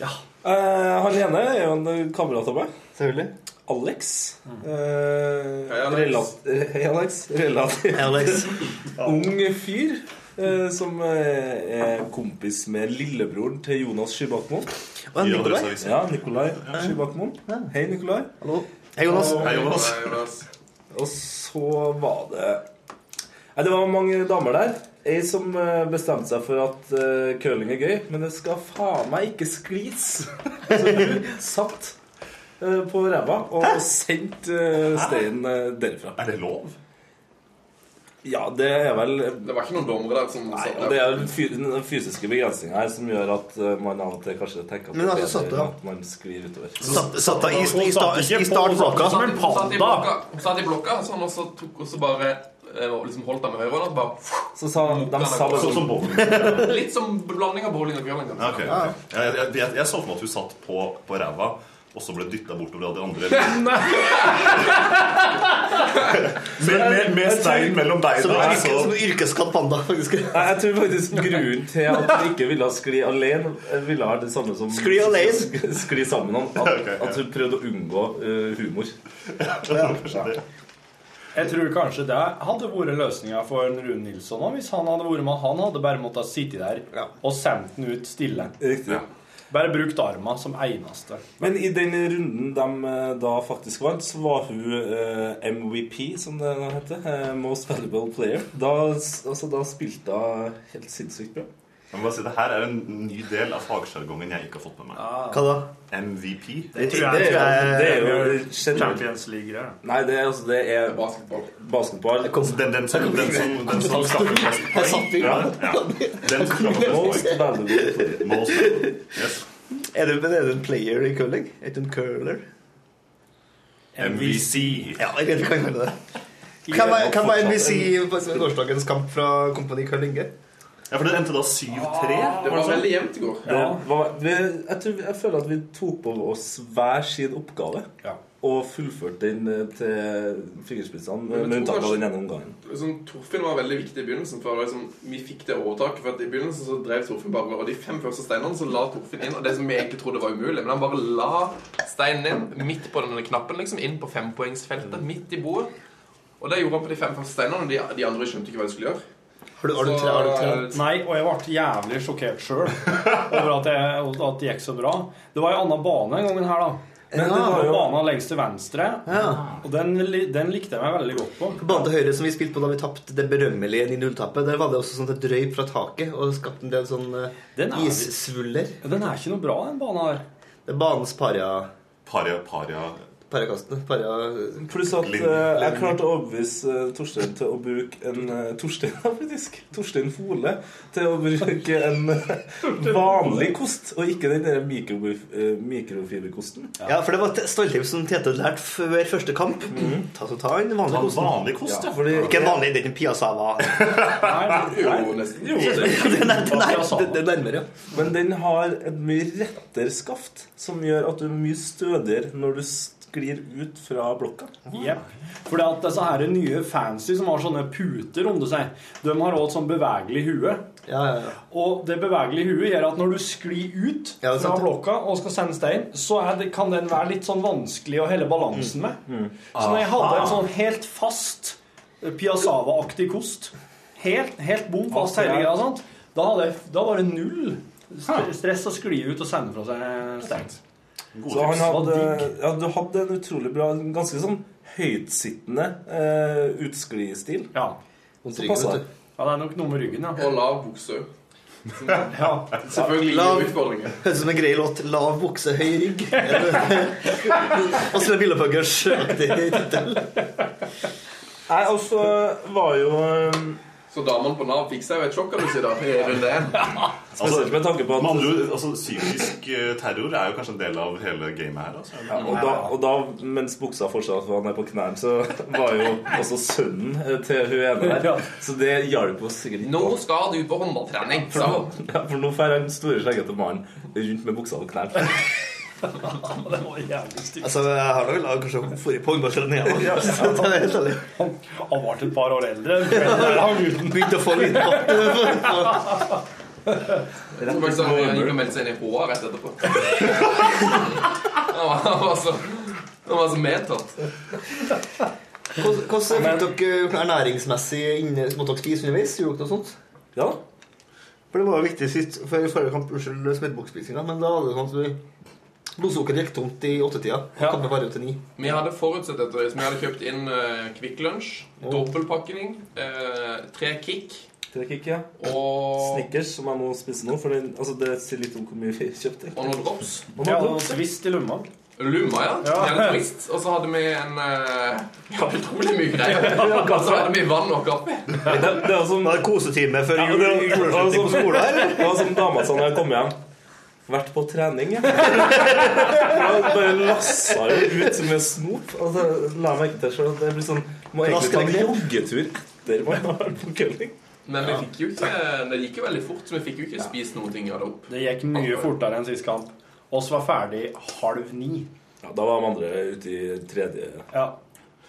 Speaker 5: da.
Speaker 3: Eh, han ene er jo en eh, kamerat av meg.
Speaker 9: Selvfølgelig.
Speaker 3: Alex. Eh,
Speaker 10: Mm. Hei, Alex.
Speaker 3: relat- Hei, Alex. Relativt
Speaker 9: Hei, Alex.
Speaker 3: ung fyr. eh, Som eh, er kompis med lillebroren til Jonas Skybakmoen.
Speaker 9: Og en
Speaker 5: I
Speaker 9: Nikolai.
Speaker 5: Adresseavisen.
Speaker 3: Ja, Nikolai Skybakmoen. Hei, Nikolai.
Speaker 9: Hallo. Hei, Jonas.
Speaker 5: Hei, Jonas.
Speaker 10: Nei, Jonas.
Speaker 3: Og så var det Nei, Det var mange damer der. Ei som eh, bestemte seg for at eh, curling er gøy, men det skal faen meg ikke sklis. Så hun satt eh, på ræva og sendte eh, steinen eh, derfra.
Speaker 5: Er det lov?
Speaker 3: Ja, det er vel
Speaker 10: Det var ikke noen dommere der som
Speaker 3: Nei,
Speaker 7: altså,
Speaker 10: satt
Speaker 3: og
Speaker 10: der.
Speaker 3: Det er jo fy- den fysiske begrensninga her som gjør at eh, man av og til kanskje tenker at
Speaker 9: Men
Speaker 3: det
Speaker 9: altså,
Speaker 3: er
Speaker 9: satt
Speaker 3: bedre
Speaker 9: da.
Speaker 3: at man sklir utover.
Speaker 9: Satt, satt da i,
Speaker 7: Hun
Speaker 9: i, sta-
Speaker 7: satt ikke på-
Speaker 9: i
Speaker 7: hun satt
Speaker 9: startblokka.
Speaker 7: som en
Speaker 10: Hun satt i
Speaker 7: panda.
Speaker 10: blokka, hun satt i blokka sånn, og så tok og så bare eh, liksom holdt han med høyrehånda. Bare
Speaker 3: Så sa de sa bare
Speaker 5: Sånn
Speaker 3: sånn
Speaker 5: som bowling?
Speaker 10: Litt som blanding av bowling og curling.
Speaker 5: Ja, ok, ok. Jeg, jeg, jeg, jeg så for meg at hun satt på, på ræva og så ble dytta bortover av de andre. med, med, med
Speaker 3: sånn-
Speaker 5: stein mellom
Speaker 9: Som
Speaker 5: beina.
Speaker 9: en
Speaker 5: Så,
Speaker 9: yrke- som en yrkeskadd panda, faktisk.
Speaker 3: Nei, jeg tror faktisk grunnen til at hun ikke ville ha skli alene, ville ha det samme som
Speaker 9: Skli alene?
Speaker 3: Skli sammen om at,
Speaker 5: Ok, ja.
Speaker 3: at hun prøvde å unngå eh, humor.
Speaker 7: Jeg tror kanskje det hadde vært løsninga for en Rune Nilsson også, hvis han hadde vært med. Han hadde bare måttet sitte der
Speaker 9: Ja.
Speaker 7: og sendt den ut stille.
Speaker 3: Riktig.
Speaker 7: Bare brukt arma som eneste.
Speaker 3: Men i den runden de eh, da faktisk vant, så var hun eh, MVP, som det nå heter. eh, Most Valuable Player. Da, s- altså, da spilte hun helt sinnssykt bra.
Speaker 5: jeg må bare si, det her er en ny del av fagsjargongen jeg ikke har fått med meg.
Speaker 9: Hva da?
Speaker 5: MVP.
Speaker 3: Det,
Speaker 9: tror jeg-
Speaker 3: det, er,
Speaker 9: det
Speaker 3: jo- det er jo generelt
Speaker 7: League-greier.
Speaker 3: Nei, det er, altså, det er
Speaker 10: Basketball.
Speaker 3: basketball.
Speaker 9: Kom.
Speaker 5: Den, den som, den som, den som skaffer flest
Speaker 9: Jeg satt i
Speaker 5: Ja, ja. Den som skaffer flest
Speaker 3: Most
Speaker 5: poeng.
Speaker 3: Valuable Player.
Speaker 5: Most. Yes.
Speaker 9: Er du, men er du en player i curling? Er du en curler?
Speaker 5: MVC.
Speaker 9: Ja, jeg vet vi kan kalle det det. Hvem var- hvem var MVC på gårsdagens kamp fra Kompani Karl Inge?
Speaker 5: Ja, for det endte da 7-3.
Speaker 10: Det var veldig jevnt i går.
Speaker 11: Det var, vi, jeg, tror, jeg føler at vi tok på oss hver sin oppgave. Og fullførte den eh, til fingerspissene,
Speaker 10: Men
Speaker 11: med
Speaker 10: jeg tror
Speaker 11: unntak av
Speaker 10: kanskje-
Speaker 11: den ene omgangen.
Speaker 10: Liksom, Torfinn var veldig viktig i begynnelsen. For liksom, Vi fikk det overtaket. For at I begynnelsen så drev Torfinn bare Og de fem første steinene så la Torfinn inn. Og det som vi egentlig trodde var umulig, men han bare la steinen inn midt på denne knappen. liksom Inn på fempoengsfeltet. Midt i bordet. Og det gjorde han på de fem første steinene. Og de, de andre skjønte ikke hva de skulle gjøre.
Speaker 9: Har du,
Speaker 10: har du tre- har du tre?
Speaker 7: Nei, og jeg ble jævlig sjokkert sjøl over at, jeg, at det gikk så bra. Det var en annen bane en gangen her, da. Men
Speaker 9: Ja.
Speaker 7: det var jo banen lengst til venstre, og den, li- den likte jeg meg veldig godt på.
Speaker 9: Banen til høyre som vi spilte på da vi tapte det berømmelige 9-0-tapet, der var det også sånn at det drøyp fra taket og skapte en del sånn eh,
Speaker 7: Den er-
Speaker 9: issvuller.
Speaker 7: Den er ikke noe bra, den banen her.
Speaker 9: Det er banens paria...
Speaker 5: Paria, paria...
Speaker 9: Pariakastene. Paria...
Speaker 11: Pluss at eh, jeg klarte å overbevise eh, Torstein til å bruke en eh, Torstein, ja, faktisk. Torstein Fole til å bruke en eh, vanlig kost, og ikke den der mikro, eh, mikrofiberkosten.
Speaker 9: Ja, for det var t- Stoltheim som Tete hadde lært før første kamp. Ta, så ta en vanlig
Speaker 11: Ta en
Speaker 9: kost.
Speaker 11: vanlig kost, Mm. ja.
Speaker 9: Fordi, ikke en vanlig, det er ikke en piassava.
Speaker 10: Jo, nesten. Jo, det.
Speaker 9: Den er, den er, den er nærmere, ja.
Speaker 11: Men den har et mye rettere skaft, som gjør at du er mye stødigere når du sklir ut fra blokka.
Speaker 7: Jepp. For at disse her nye fancy som har sånne puter om det seg, de har også et sånn bevegelig hue. Og det bevegelige huet gjør at når du sklir ut
Speaker 9: Ja, det er
Speaker 7: fra
Speaker 9: sant.
Speaker 7: blokka og skal sende stein, så er det, kan den være litt sånn vanskelig å holde balansen med.
Speaker 9: Mm,
Speaker 7: Så når jeg hadde
Speaker 9: Ah.
Speaker 7: en sånn helt fast eh, Piazzava-aktig kost, helt, helt bom
Speaker 9: Ah,
Speaker 7: fast hele greia, sant? Da, hadde jeg, da var det null st- stress å skli ut og sende fra seg stein.
Speaker 11: Så han hadde, ja, du hadde en utrolig bra, en ganske sånn høytsittende eh, utsklidestil.
Speaker 7: Ja.
Speaker 11: Så passet det.
Speaker 7: Ja, det er nok noe med ryggen, ja.
Speaker 10: Og lav bukse.
Speaker 7: ja.
Speaker 10: Selvfølgelig
Speaker 9: Lav-
Speaker 10: gir utfordringer.
Speaker 9: Høres ut som en grei låt. Lav bukse, høy rygg. Og så er det Billepuggers-aktig tittel.
Speaker 11: Nei, og så var jo um,
Speaker 10: Så damene på Nav fikk seg jo et sjokk, kan du si, da. i runde én.
Speaker 11: Spesielt Altså, med tanke på at
Speaker 5: Altså, Med andre ord, altså, psykisk eh, terror er jo kanskje en del av hele gamet her. Altså.
Speaker 11: ja, og, da, og da, mens buksa fortsatt var ned på knærne, så var jo også sønnen eh, til hun ene der. Så det hjalp oss sikkert ikke.
Speaker 10: Nå skal du på håndballtrening,
Speaker 11: For
Speaker 10: sa
Speaker 11: nå,
Speaker 10: hun.
Speaker 11: ja, for nå får den store, sleggete mannen rundt med buksa og knærne.
Speaker 7: Det var jævlig stygt.
Speaker 9: Altså, jeg har nok laget kanskje forrige på
Speaker 7: Ja.
Speaker 9: ungdomsskjønnen Så det er helt ærlig.
Speaker 7: Han ble et par år eldre. Begynte
Speaker 9: å få litt
Speaker 10: Jeg tror faktisk han gikk og meldte seg inn i HA rett etterpå. Han var, han var så han var så medtatt.
Speaker 9: Hvordan hvordan fikk dere eh, ernæringsmessig inne, måtte dere spise underveis? Gjorde dere noe sånt?
Speaker 11: Ja.
Speaker 9: For det var jo viktig sist, for i forrige kamp, unnskyld smeddbokspisingen, men da var det sånn at du blodsukkeret gikk tomt i åttetida. og Kampen varer jo til ni.
Speaker 10: Vi hadde forutsett dette. så Vi hadde kjøpt inn eh, Kvikk Lunsj, dobbeltpakning, eh, tre Kick
Speaker 11: Tre kick, ja.
Speaker 10: og
Speaker 11: Snickers, som jeg må spise nå. For den, altså, det sier litt om hvor mye vi kjøpte.
Speaker 10: Og noen drops.
Speaker 11: Og
Speaker 7: Ja,
Speaker 11: noen
Speaker 7: og
Speaker 11: drops.
Speaker 7: twist i lomma.
Speaker 10: Lumma, ja.
Speaker 7: Ja.
Speaker 10: Gjerne turist. Og så hadde vi en eh, ja, utrolig mye greier.
Speaker 11: Ja,
Speaker 10: Og så hadde vi vann og kaffe.
Speaker 11: Det, det var som
Speaker 9: Var det kosetime før jul?
Speaker 11: det var- det var
Speaker 9: juleslutt
Speaker 11: som-
Speaker 9: på skolen, eller?
Speaker 11: Det var som dama sa når jeg kom hjem. Vært på trening, ja. Jeg bare lassa jo ut med snop. Og så la jeg merke til selv at det blir sånn Må egentlig
Speaker 9: Raskere
Speaker 11: trenge
Speaker 9: ned.
Speaker 11: joggetur etter man har vært på curling.
Speaker 10: Men vi fikk jo ikke, det gikk jo veldig fort, så vi fikk jo ikke spist noen ting av det opp.
Speaker 7: Det gikk mye fortere enn sist kamp. Oss var ferdig halv ni.
Speaker 11: Ja, da var de andre ute i tredje
Speaker 7: Ja.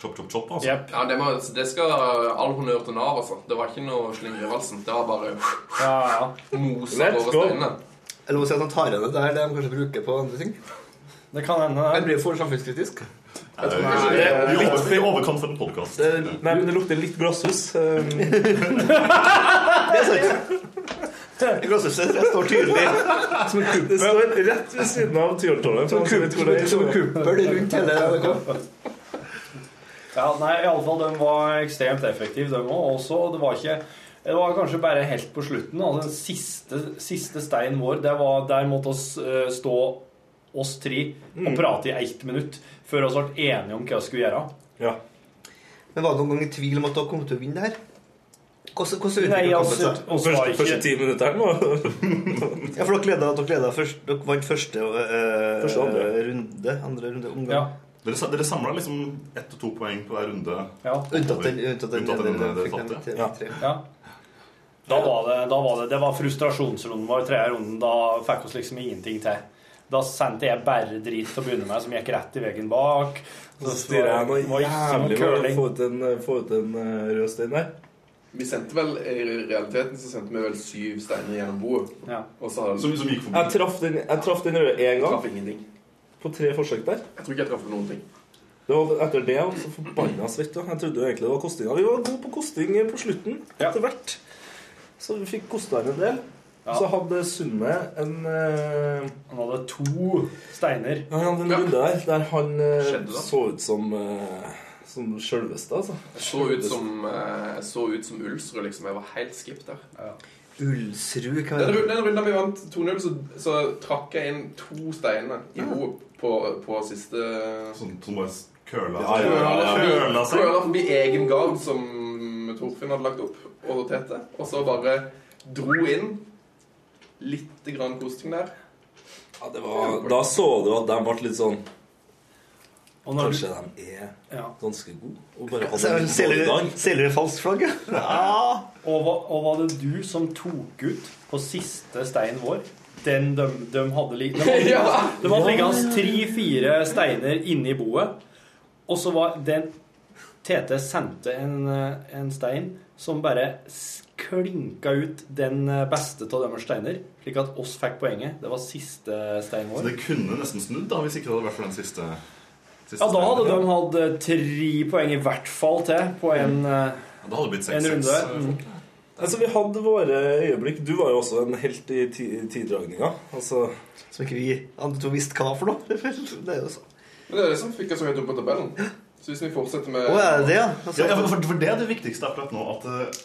Speaker 5: Chop, chop, chop, altså.
Speaker 7: Jepp.
Speaker 10: Ja, det, må, det skal all honnør til Nav, altså. Det var ikke noe slinger i valsen. Det var bare
Speaker 7: Ja, ja.
Speaker 10: mosa
Speaker 11: Let's
Speaker 10: over
Speaker 11: go.
Speaker 10: steinene.
Speaker 9: Jeg lov å si at han tar igjen det her, det de kanskje bruker på andre ting.
Speaker 7: Det kan hende.
Speaker 9: Jeg blir for samfunnskritisk.
Speaker 5: Det er
Speaker 11: Nei,
Speaker 5: kanskje-
Speaker 11: det er
Speaker 5: Vi
Speaker 11: litt-
Speaker 5: over- vi overkant for en podcast.
Speaker 11: Det, nei, men det lukter litt glasshus. Um,
Speaker 9: Det er sant. Glasshuset det står tydelig. Som en kuppel.
Speaker 11: Det står rett ved siden av Tyholttårnet. for
Speaker 9: Som
Speaker 11: han som vet hvor det er.
Speaker 9: en kuppel rundt hele NRK.
Speaker 7: Ja, nei, iallfall de var ekstremt effektive, de òg. Også det var ikke det var kanskje bare helt på slutten. altså Den siste, siste steinen vår, det var, der måtte oss eh, stå oss tre og prate i ett minutt før vi ble enige om hva vi skulle gjøre.
Speaker 11: Mm. Ja.
Speaker 9: Men var det noen gang i tvil om at dere kom til å vinne det her? Hvordan, hvordan
Speaker 7: Nei,
Speaker 9: utviklet kampen
Speaker 7: altså,
Speaker 9: seg?
Speaker 7: oss var
Speaker 11: Første, første
Speaker 7: ikke
Speaker 11: ti minutter nå.
Speaker 9: Ja, for dere leda, dere leda først Dere vant første, eh,
Speaker 11: Første, andre.
Speaker 9: runde. Andre runde omgang.
Speaker 7: ja, Dere, sa- dere samla liksom ett og to poeng på hver runde.
Speaker 12: Ja.
Speaker 9: Unntatt den- unntatt den-
Speaker 7: Unntatt den
Speaker 9: den- den-
Speaker 7: dere
Speaker 9: fikk den
Speaker 7: tapte.
Speaker 9: til-
Speaker 7: Ja.
Speaker 12: Ja.
Speaker 3: Da var det, da var det, det var frustrasjonsrunden vår, tredje runden. Da fikk oss liksom ingenting til. Da sendte jeg bare drit til å begynne med, som gikk rett i veggen bak.
Speaker 10: Så styrer jeg noe
Speaker 3: var ikke
Speaker 10: jævlig
Speaker 3: noe
Speaker 10: med å
Speaker 3: curling.
Speaker 10: få ut en, få ut en eh, rød stein der.
Speaker 5: Vi sendte vel, I realiteten så sendte vi vel syv steiner gjennom bordet. Og så hadde-
Speaker 10: Jeg traff den, jeg traff den røde én gang.
Speaker 5: Traff ingenting.
Speaker 10: På tre forsøk der.
Speaker 5: Jeg tror ikke jeg traff noen ting.
Speaker 10: Det var etter det jeg var så forbanna svett. da. Jeg trodde jo egentlig det var kostinga. Vi var gode på kosting på slutten, etter hvert. Så vi fikk kosta inn en del. Så hadde Sunne en eh,
Speaker 3: Han hadde to steiner.
Speaker 10: Ja, han hadde en runde der der han eh,
Speaker 5: Skjedde det?
Speaker 10: så ut som eh, Som sjølveste, altså.
Speaker 5: Jeg så ut som, eh, så ut som Ulsrud, liksom. Jeg var helt skip der.
Speaker 9: Ulsrud, hva
Speaker 5: Den
Speaker 9: er det?
Speaker 5: runden, den runden vi vant 2-0, så, så trakk jeg inn to steiner i ro på, på siste
Speaker 7: Sånn som bare curla
Speaker 5: ja,
Speaker 7: seg.
Speaker 5: ja, ja, ja.
Speaker 7: Curla seg.
Speaker 5: Curla forbi egen gard, som Torfinn hadde lagt opp, og roterte. Og så bare dro inn litt grann kosting der.
Speaker 10: Ja, det var, da så du at de ble litt sånn
Speaker 3: Og når-
Speaker 10: Kanskje de er ganske gode? Og bare hadde en dårlig dag?
Speaker 3: Selger du falskt flagg? Ja. Og, var, og var det du som tok ut på siste steinen vår? Den de, de hadde li- De hadde,
Speaker 5: Ja.
Speaker 3: de hadde
Speaker 5: Ja.
Speaker 3: liggende tre-fire steiner inni boet. Og så var den Tete sendte en, eh, en stein som bare s- klinka ut den eh, beste av deres steiner. Slik at oss fikk poenget. Det var siste steinen vår.
Speaker 7: Så det kunne nesten snudd da hvis ikke det hadde vært for den siste. siste
Speaker 3: Ja, da hadde de
Speaker 7: steinen.
Speaker 3: hatt eh, tre poeng i hvert fall til på en, eh,
Speaker 7: Ja, da hadde det blitt
Speaker 3: en
Speaker 7: seks-seks.
Speaker 3: runde. Mm.
Speaker 10: Altså, vi hadde våre øyeblikk. Du var jo også en helt i ti tiddragninga. Altså
Speaker 9: Som ikke vi andre to visste hva for noe. Det er jo sånn.
Speaker 5: Men det er det som fikk oss så høyt opp på tabellen. Så hvis vi fortsetter med
Speaker 7: ja, ja, for, for det er det viktigste akkurat nå, at det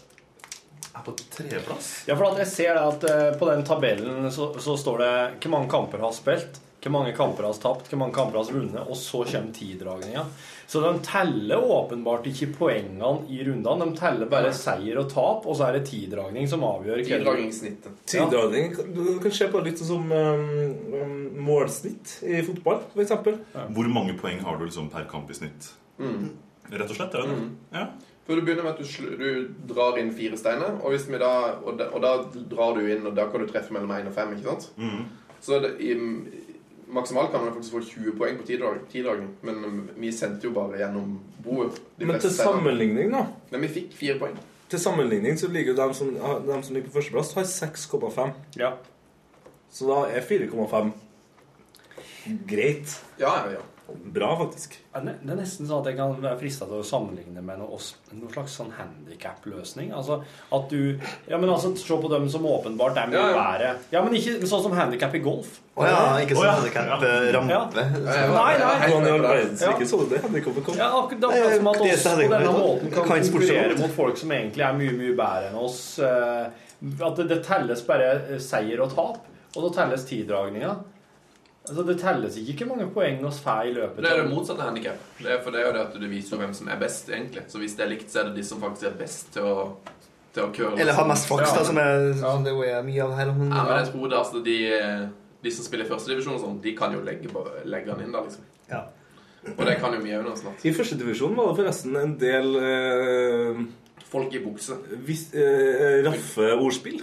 Speaker 7: er på tredjeplass.
Speaker 3: Ja, for at jeg ser det at eh, på den tabellen så, så står det hvor mange kamper har spilt, hvor mange kamper har tapt, hvor mange kamper har vunnet, og så kommer tiddragninga. Så de teller åpenbart ikke poengene i rundene. De teller bare seier og tap, og så er det tiddragning som avgjør. hvem-
Speaker 10: Tiddragning Du kan se på det litt som um, um, målsnitt i fotball, for eksempel.
Speaker 7: Hvor mange poeng har du liksom per kamp i snitt?
Speaker 5: Mm.
Speaker 7: Rett og slett, er det det?
Speaker 5: For du begynner med at du, sl- du drar inn fire steiner, og, hvis vi da, og, da, og da drar du inn, og da kan du treffe mellom én og fem. ikke sant?
Speaker 7: Mhm.
Speaker 5: Så det, i, maksimalt kan man faktisk få 20 poeng på tidrag, tiddragning, men um, vi sendte jo bare gjennom boet. de
Speaker 10: Men
Speaker 5: fleste
Speaker 10: til
Speaker 5: steinene.
Speaker 10: sammenligning, da.
Speaker 5: Men vi fikk fire poeng.
Speaker 10: Til sammenligning så ligger jo dem som, ah, dem som ligger på førsteplass, har 6,5.
Speaker 3: Ja.
Speaker 10: Så da er 4,5 greit. Bra, faktisk.
Speaker 3: Ja, ne- Det er nesten sånn at jeg kan være frista til å sammenligne med noe, oss- noe slags sånn handikap-løsning. Altså at du Ja, men altså, se på dem som åpenbart er mye
Speaker 9: Ja,
Speaker 3: ja,
Speaker 9: ja.
Speaker 3: bedre. Ja, men ikke sånn som handikap i golf.
Speaker 9: Å ja, ikke
Speaker 3: Å
Speaker 9: sånn
Speaker 3: ja.
Speaker 9: handicap, eh, rampe.
Speaker 10: Mm.
Speaker 3: Ja. Nei, nei.
Speaker 10: Hvordan i all verden
Speaker 3: Ja.
Speaker 10: så ikke så du det? Handicap kom.
Speaker 3: Ja, akkurat det er akkurat som at
Speaker 10: Det er
Speaker 3: oss
Speaker 10: så
Speaker 3: på
Speaker 10: handicap, vet
Speaker 3: denne
Speaker 10: du.
Speaker 3: måten kan
Speaker 10: Kan ikke sportsmål.
Speaker 3: konkurrere mot folk som egentlig er mye, mye bedre enn oss. eh, At det, det telles bare eh, seier og tap, og da telles tiddragninga. Altså, det telles ikke hvor mange poeng oss får i løpet
Speaker 5: Det er det motsatte handikap. Det er, for det er jo det at du viser jo hvem som er best, egentlig. Så hvis det er likt, så er det de som faktisk er best til å, til å curle.
Speaker 9: Eller har mest flaks,
Speaker 5: Ja.
Speaker 9: da, som er, som det jo er mye av her. om-
Speaker 5: Ja, men jeg tror det, altså, de, de som spiller i førstedivisjon, og sånn, de kan jo legge, på- legge han inn der, liksom.
Speaker 9: Ja.
Speaker 5: Og det kan jo mye òg snart.
Speaker 10: I første divisjon var det forresten en del eh,
Speaker 5: Folk i bukse.
Speaker 10: Vis, eh, raffe ordspill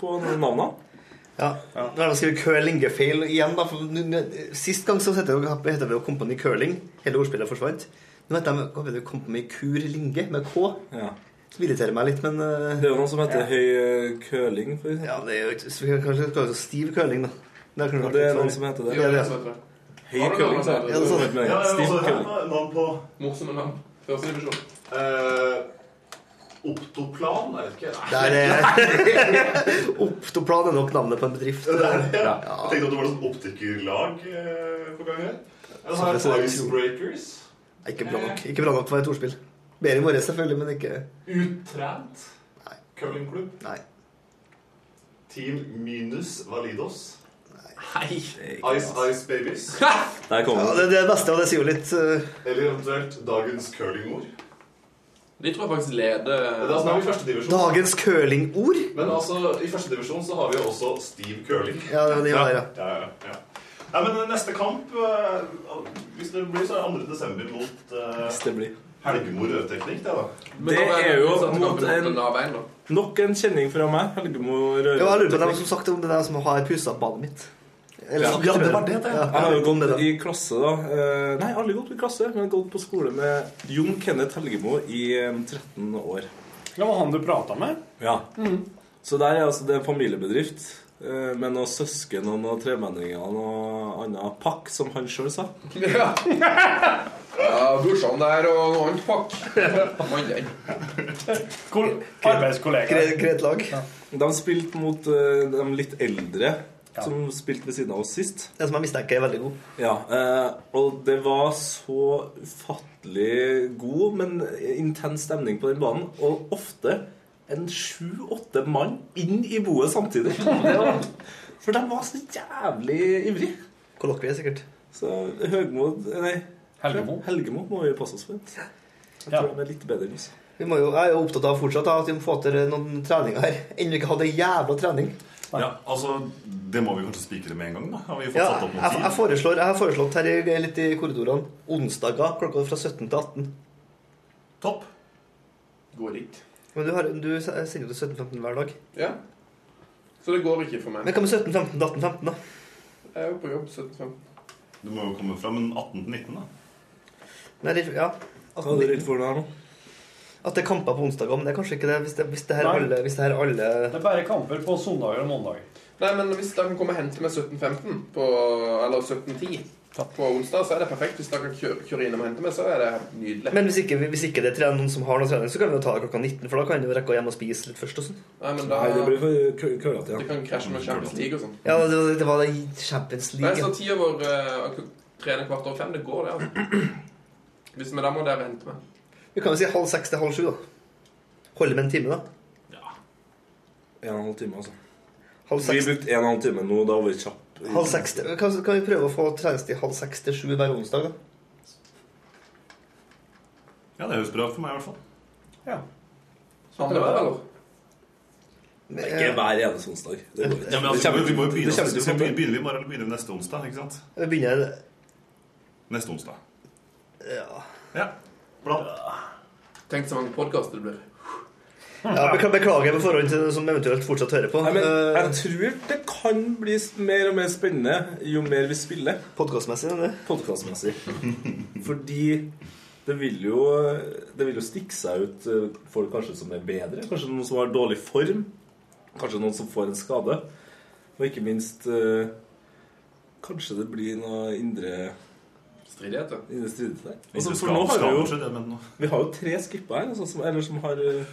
Speaker 10: på navnene.
Speaker 9: Ja. Da har de skrevet curlingefeil igjen, da. For n- n- Sist gang så het det jo- het det jo Kompani Curling. Hele ordspillet forsvant. Nå heter de hva heter det, Kompani Kur Linge, med K. Som irriterer meg litt, men eh,
Speaker 10: Det er jo noen som heter høy eh, curling. For
Speaker 9: Ja, det er jo ikke så vi kan kanskje kalle det stiv curling, da. Det,
Speaker 10: Ja, det er noen som heter det.
Speaker 9: Ja, det
Speaker 10: Ja, det er noen som heter
Speaker 9: er.
Speaker 10: det. Høy curling, sa jeg.
Speaker 9: Ja, det er sånn.
Speaker 10: Ja, ja, ja, Stiv også her curling.
Speaker 7: Navn på
Speaker 5: Morsomme navn. Førstedivisjon.
Speaker 7: Optoplan? Jeg vet ikke.
Speaker 9: Der er Optoplan er nok navnet på en bedrift.
Speaker 7: Det er det, ja.
Speaker 9: Ja.
Speaker 7: Jeg tenkte at det var noe sånn optikerlag eh, på gang her. Jeg
Speaker 9: Så
Speaker 7: har
Speaker 9: det er-
Speaker 7: Icebreakers. Eh.
Speaker 9: Ikke bra nok Ikke bra nok for å være et ordspill. Bedre enn våre, selvfølgelig, men ikke
Speaker 7: Uttrent. Curlingklubb.
Speaker 9: Nei.
Speaker 7: Team Minus Validos.
Speaker 5: Hei!
Speaker 7: Ice Ice Babies.
Speaker 10: Der kom
Speaker 9: ja, det, det er det beste, og det sier jo litt eh,
Speaker 7: Eller eventuelt dagens curlingord.
Speaker 5: De tror jeg faktisk leder
Speaker 7: Det er altså nå er vi i første divisjon.
Speaker 9: Dagens curlingord.
Speaker 7: Men altså, i første divisjon så har vi jo også Steve Curling.
Speaker 9: Ja, det var det, ja, ja.
Speaker 7: Ja, ja, ja.
Speaker 5: Nei, men neste kamp eh, Hvis det blir, så er det 2. desember mot eh,
Speaker 3: Hvis det blir.
Speaker 5: Helgemo rødteknikk, det, da.
Speaker 3: Det er jo mot en,
Speaker 10: en
Speaker 3: nok en kjenning fra meg. Helgemo
Speaker 9: Ja,
Speaker 3: Røros.
Speaker 9: jeg lurer på dem som sagt om det er dem som har pussa opp badet mitt. Eller,
Speaker 3: Ja,
Speaker 9: ja, det var det, det.
Speaker 3: Ja, jeg har jo gått i klasse, da. Eh, Nei, aldri gått i klasse, men gått på skole med Jon Kenneth Helgemo i eh, 13 år.
Speaker 13: Det var han du prata med?
Speaker 3: Ja.
Speaker 13: Mm.
Speaker 3: Så der er altså det er en familiebedrift eh, med noen søsken og noen tremenninger og noe annet pakk, som han sjøl sa.
Speaker 10: Ja. ja, brorsan der og noe annet pakk. Mannen.
Speaker 3: Arbeidskollega. Kretlag. De spilte mot eh, de litt eldre. Som spilte ved siden av oss sist.
Speaker 9: Den som jeg mistenker er veldig god.
Speaker 3: Ja, eh, Og det var så ufattelig god, men intens stemning på den banen. Og ofte en sju-åtte mann inn i boet samtidig. Det var, for de var så jævlig ivrig.
Speaker 9: Kollokvie, sikkert.
Speaker 3: Så Høgmo Nei. Helgemo. Helgemo må vi passe oss for. Jeg tror de er litt bedre enn oss.
Speaker 9: Vi må jo, jeg er jo opptatt av fortsatt da, at vi må få til noen treninger her. Ennå ikke hatt ei jævla trening.
Speaker 5: Ja, altså, Det må vi kanskje spikre med en gang, da. Har vi fått
Speaker 9: Ja,
Speaker 5: satt
Speaker 9: jeg,
Speaker 5: opp noen
Speaker 9: jeg,
Speaker 5: tid?
Speaker 9: foreslår, jeg har foreslått her i- litt i korridorene onsdager klokka fra 17 til 18.
Speaker 5: Topp. Går ikke.
Speaker 9: Men du, har, du sender jo til 17.15 hver dag.
Speaker 10: Ja. Så det går ikke for meg.
Speaker 9: Men hva med 17.15 til 18.15, da?
Speaker 10: Jeg er jo på jobb 17.15.
Speaker 5: Du må jo komme fra men 18 til 19, da.
Speaker 9: Nei, det- ja.
Speaker 5: Hva er det redd
Speaker 3: for der nå?
Speaker 9: At det er kamper på onsdager, men det er kanskje ikke det hvis det, hvis det her
Speaker 10: Nei.
Speaker 9: alle hvis det her alle
Speaker 13: Det er bare kamper på søndager og mandager.
Speaker 10: Nei, men hvis de kan komme og hente meg 17.15 på, eller 17.10 på onsdag, så er det perfekt. Hvis de kan kjøre, kjøre innom og hente meg, så er det nydelig.
Speaker 9: Men hvis ikke, hvis ikke det er tre- noen som har noen trening, så kan vi jo ta det klokka 19, for da kan du jo rekke å hjem og spise litt først og sånn.
Speaker 10: Nei, men da
Speaker 3: Nei, det blir for køllete,
Speaker 10: De kan krasje med Champions League og sånn.
Speaker 9: Ja, det, var- det var det i Champions
Speaker 10: Nei,
Speaker 9: League.
Speaker 10: så
Speaker 9: ja.
Speaker 10: ti over uh, trener kvart over fem. Det går, det. altså. Hvis vi da må dere hente meg.
Speaker 9: Vi kan jo si halv seks til halv sju, da. Holde med en time, da.
Speaker 3: En og en halv time, altså.
Speaker 9: Halv
Speaker 3: Vi brukte en og en halv time nå. Da var vi kjappe.
Speaker 9: Halv seks til, kan, kan vi prøve å få treningstid halv seks til sju hver onsdag, da?
Speaker 5: Ja, Det høres bra ut for meg, i hvert fall.
Speaker 13: Ja.
Speaker 10: Sånn det var, eller?
Speaker 3: Nei, Ikke hver eneste onsdag. Det går ikke.
Speaker 5: Ja, men
Speaker 3: Det
Speaker 5: altså,
Speaker 3: kommer-
Speaker 5: vi må jo
Speaker 3: det kommer til å
Speaker 5: begynne, skal vi
Speaker 3: komme.
Speaker 5: begynne, begynner vi i morgen eller begynner vi neste onsdag? ikke sant?
Speaker 9: Vi begynner
Speaker 5: Neste onsdag.
Speaker 9: Ja.
Speaker 5: Ja. Blant.
Speaker 10: Tenk så mange podkaster det blir.
Speaker 9: ja bekla- beklager på forhånd til noen som eventuelt fortsatt hører på. Eh,
Speaker 3: Nei, men jeg tror det kan bli s- mer og mer spennende jo mer vi spiller.
Speaker 9: Podkastmessig, eller?
Speaker 3: Podkastmessig. Fordi det vil jo Det vil jo stikke seg ut eh, folk kanskje som er bedre. Kanskje noen som har dårlig form. Kanskje noen som får en skade. Og ikke minst eh, Kanskje det blir noe indre
Speaker 10: Stridigheter.
Speaker 3: Indre stridigheter.
Speaker 5: Indre
Speaker 3: Altså, for nå har vi
Speaker 5: skade,
Speaker 3: jo
Speaker 5: kanskje, det, men-
Speaker 3: Vi har jo tre skipper her, altså, som, eller som har eh,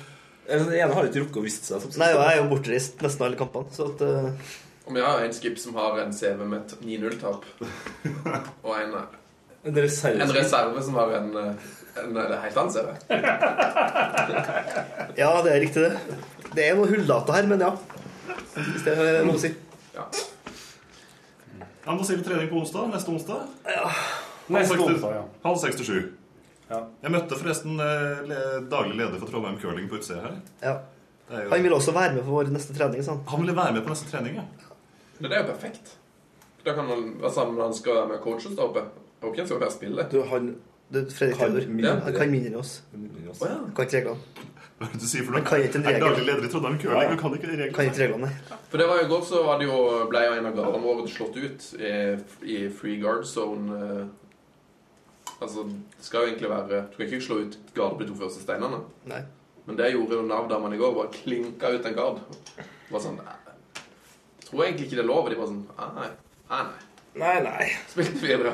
Speaker 3: eller, Den ene har ikke rukket å vise seg. Som
Speaker 9: Nei, og jeg er jo bortreist nesten alle kampene, så at eh,
Speaker 10: Om jeg har en skip som har en CV med et 9-0-tap, og en,
Speaker 3: En reserve.
Speaker 10: en reserve som har en, eh, en, en helt annen CV
Speaker 9: Ja, det er riktig, det. Det er noe hulldata her, men ja. Hvis det er noe å si.
Speaker 5: Ja, men Da sier vi trening på onsdag. Neste onsdag.
Speaker 13: Neste
Speaker 5: Halv seks til-
Speaker 13: onsdag, ja.
Speaker 5: Halv seks til sju. Jeg møtte forresten eh, le- daglig leder for Trondheim curling på utsida her.
Speaker 9: Ja.
Speaker 5: Det er jo-
Speaker 9: Han vil også være med på vår neste trening, sånn. sa han.
Speaker 5: Han ville være med på neste trening, ja.
Speaker 10: Men det er jo perfekt. Da kan han være sammen når han skal være med coaches der oppe. Jeg håper ikke han skal være spille.
Speaker 9: Du, han du, Fredrik Theodor.
Speaker 10: mindre.
Speaker 9: Han kan mindre enn oss.
Speaker 10: Å, ja.
Speaker 9: Han kan ikke reglene.
Speaker 5: Hva er det du sier for
Speaker 9: noe? Han kan ikke en regel.
Speaker 5: daglig leder i Trondheim curling, og kan ikke reglene.
Speaker 9: Kan ikke reglene, nei.
Speaker 10: For det var jo i går så var det jo, ble jo en av gardene våre slått ut i, i free guard zone. eh, Altså, det skal jo egentlig være Du kan ikke slå ut garder på de to første steinene.
Speaker 9: Nei.
Speaker 10: Men det gjorde jo Nav-damene i går. Bare klinka ut en gard. Bare sånn "Nei, Jeg tror egentlig ikke det er lov. Og de bare sånn Nei, nei.
Speaker 3: Nei, nei.
Speaker 10: Spilte videre.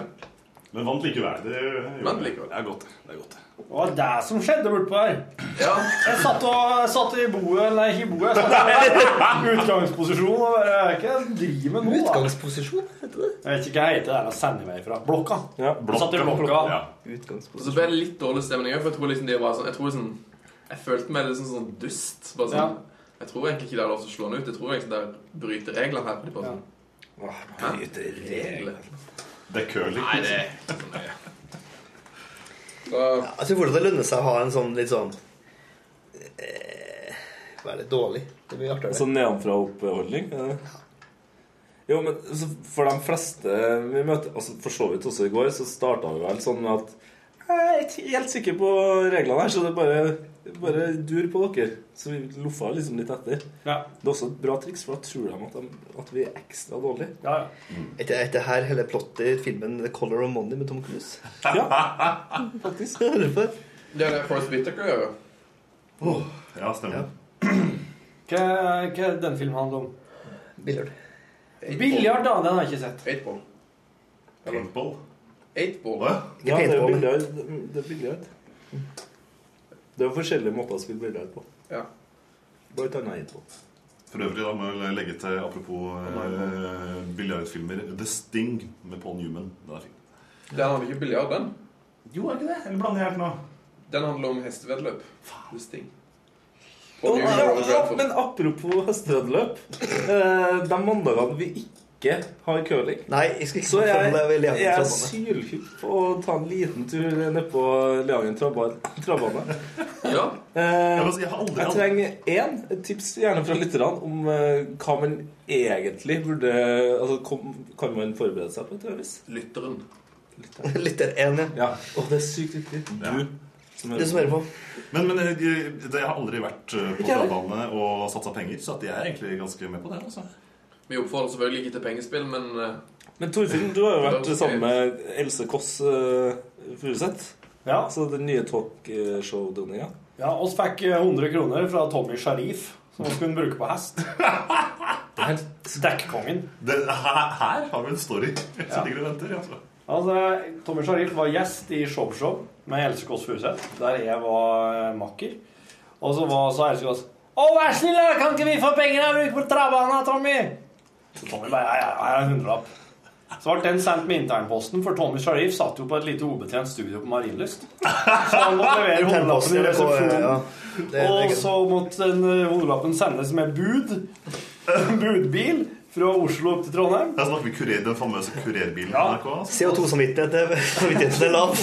Speaker 5: Men vant likevel. Det,
Speaker 10: Vant likevel.
Speaker 5: Det er godt. det er godt.
Speaker 13: Det var det som skjedde bortpå her.
Speaker 10: Ja.
Speaker 13: Jeg satt, og, jeg satt i boet Nei, ikke i boet. Jeg satt i utgangsposisjon. Og bare, jeg er ikke jeg driver med nå, da.
Speaker 9: Utgangsposisjon, heter det?
Speaker 13: Jeg vet ikke hva jeg heter. Det er å sende meg fra. Blokka.
Speaker 10: blokka.
Speaker 13: Satt i blokka.
Speaker 10: Og så ble det litt dårlig stemning òg, for jeg tror liksom de var sånn Jeg, tror liksom, jeg følte meg liksom sånn dust. Bare sånn Jeg tror egentlig ikke det er lov til å slå den ut. Jeg tror egentlig det bryter reglene her. for De bare sånn Hæ?
Speaker 5: Det er curling.
Speaker 10: Nei, det er ikke så nøye. Ja,
Speaker 9: jeg tror fortsatt det lønner seg å ha en sånn litt sånn eh, Være litt dårlig. Det blir artigere.
Speaker 3: Sånn Altså nedenfra-opp-holdning? Jo, men så for de fleste vi møter, altså for så vidt også i går, så starta vi vel sånn med at Jeg er ikke helt sikker på reglene her, så det er bare, bare dur på dere. Så vi loffa liksom litt etter.
Speaker 14: Ja.
Speaker 3: Det er også et bra triks, for da tror de at, de, at vi er ekstra dårlige.
Speaker 14: Ja,
Speaker 9: Mm.
Speaker 5: Er det- er det her hele plottet i filmen The Color of Money med Tom Cruise?
Speaker 3: Faktisk.
Speaker 10: Det er det Forest Whittaker gjør.
Speaker 9: Ja, stemmer.
Speaker 7: Hva, hva er den filmen handler om?
Speaker 5: Biljard.
Speaker 7: Biljard, da. Den har jeg ikke sett.
Speaker 10: Eightball.
Speaker 9: Paintball?
Speaker 10: Eightball.
Speaker 3: Ja, det er billigere. Det er billigere. Det er jo forskjellige måter å spille billigere på.
Speaker 10: Ja.
Speaker 3: Bare ta nei på.
Speaker 9: For øvrig da må jeg legge til, apropos eh, biljardfilmer, The Sting med Paul Newman. Den er fin.
Speaker 10: Den handler ikke om biljard, den.
Speaker 9: Jo, er ikke det? Eller blander jeg helt nå?
Speaker 10: Den handler om hesteveddeløp. Det sting.
Speaker 3: Ja,
Speaker 10: Paul Newman,
Speaker 3: ja,
Speaker 10: Robert
Speaker 3: ja,
Speaker 10: Redford.
Speaker 3: men apropos hesteveddeløp. eh, De mandagene vi ikke har curling, så
Speaker 5: snakke
Speaker 3: jeg,
Speaker 5: om det, vi lever
Speaker 3: jeg
Speaker 5: på
Speaker 3: er sylhypp på å ta en liten tur nedpå Leangen trabane. trabane.
Speaker 10: Ja.
Speaker 3: Eh,
Speaker 9: Altså, Jeg må si, jeg har aldri-
Speaker 3: jeg trenger én et tips, gjerne fra lytterne, om eh, hva man egentlig burde Altså, kom, kan man forberede seg på et øvis?
Speaker 10: Lytteren.
Speaker 5: Lytter én, ja.
Speaker 3: ja. Å, det er sykt viktig. Du som
Speaker 5: Du som hører på.
Speaker 9: Men, men jeg, jeg, jeg har aldri vært eh, på
Speaker 5: Ikke heller.
Speaker 9: travbane og satsa penger, så at jeg er egentlig ganske med på det. altså.
Speaker 10: Vi oppfordrer selvfølgelig ikke til pengespill, men eh,
Speaker 3: Men Torfinn, du har jo vært
Speaker 10: Det er ok.
Speaker 3: sammen med Else Kåss uh, Furuseth. Så den nye talkshow-dronninga.
Speaker 7: Ja, oss fikk eh, 100 kroner fra Tommy Sharif, som vi skulle bruke på hest. Dekkkongen.
Speaker 9: her, har vi en story som ligger og venter. altså.
Speaker 7: Altså, Tommy Sharif var gjest i Showshow med Else Kåss Furuseth, der jeg var eh, makker. Og så var så Else Kåss Å, vær snill, da! Kan ikke vi få penger jeg bruker på travbanen, Tommy? Så Tommy bare Ja, ja, her er en hundrelapp. Så ble den sendt med internposten, for Tommy Sharif satt jo på et lite ubetjent studio på Marienlyst. Så han måtte levere hundrelappen i resepsjonen. Og eh, så måtte den eh, hodelappen sendes med bud. Budbil fra Oslo opp til Trondheim.
Speaker 9: Der snakker vi kurer, den famøse kurerbilen. altså. Ja.
Speaker 5: CO2-samvittigheten er lav.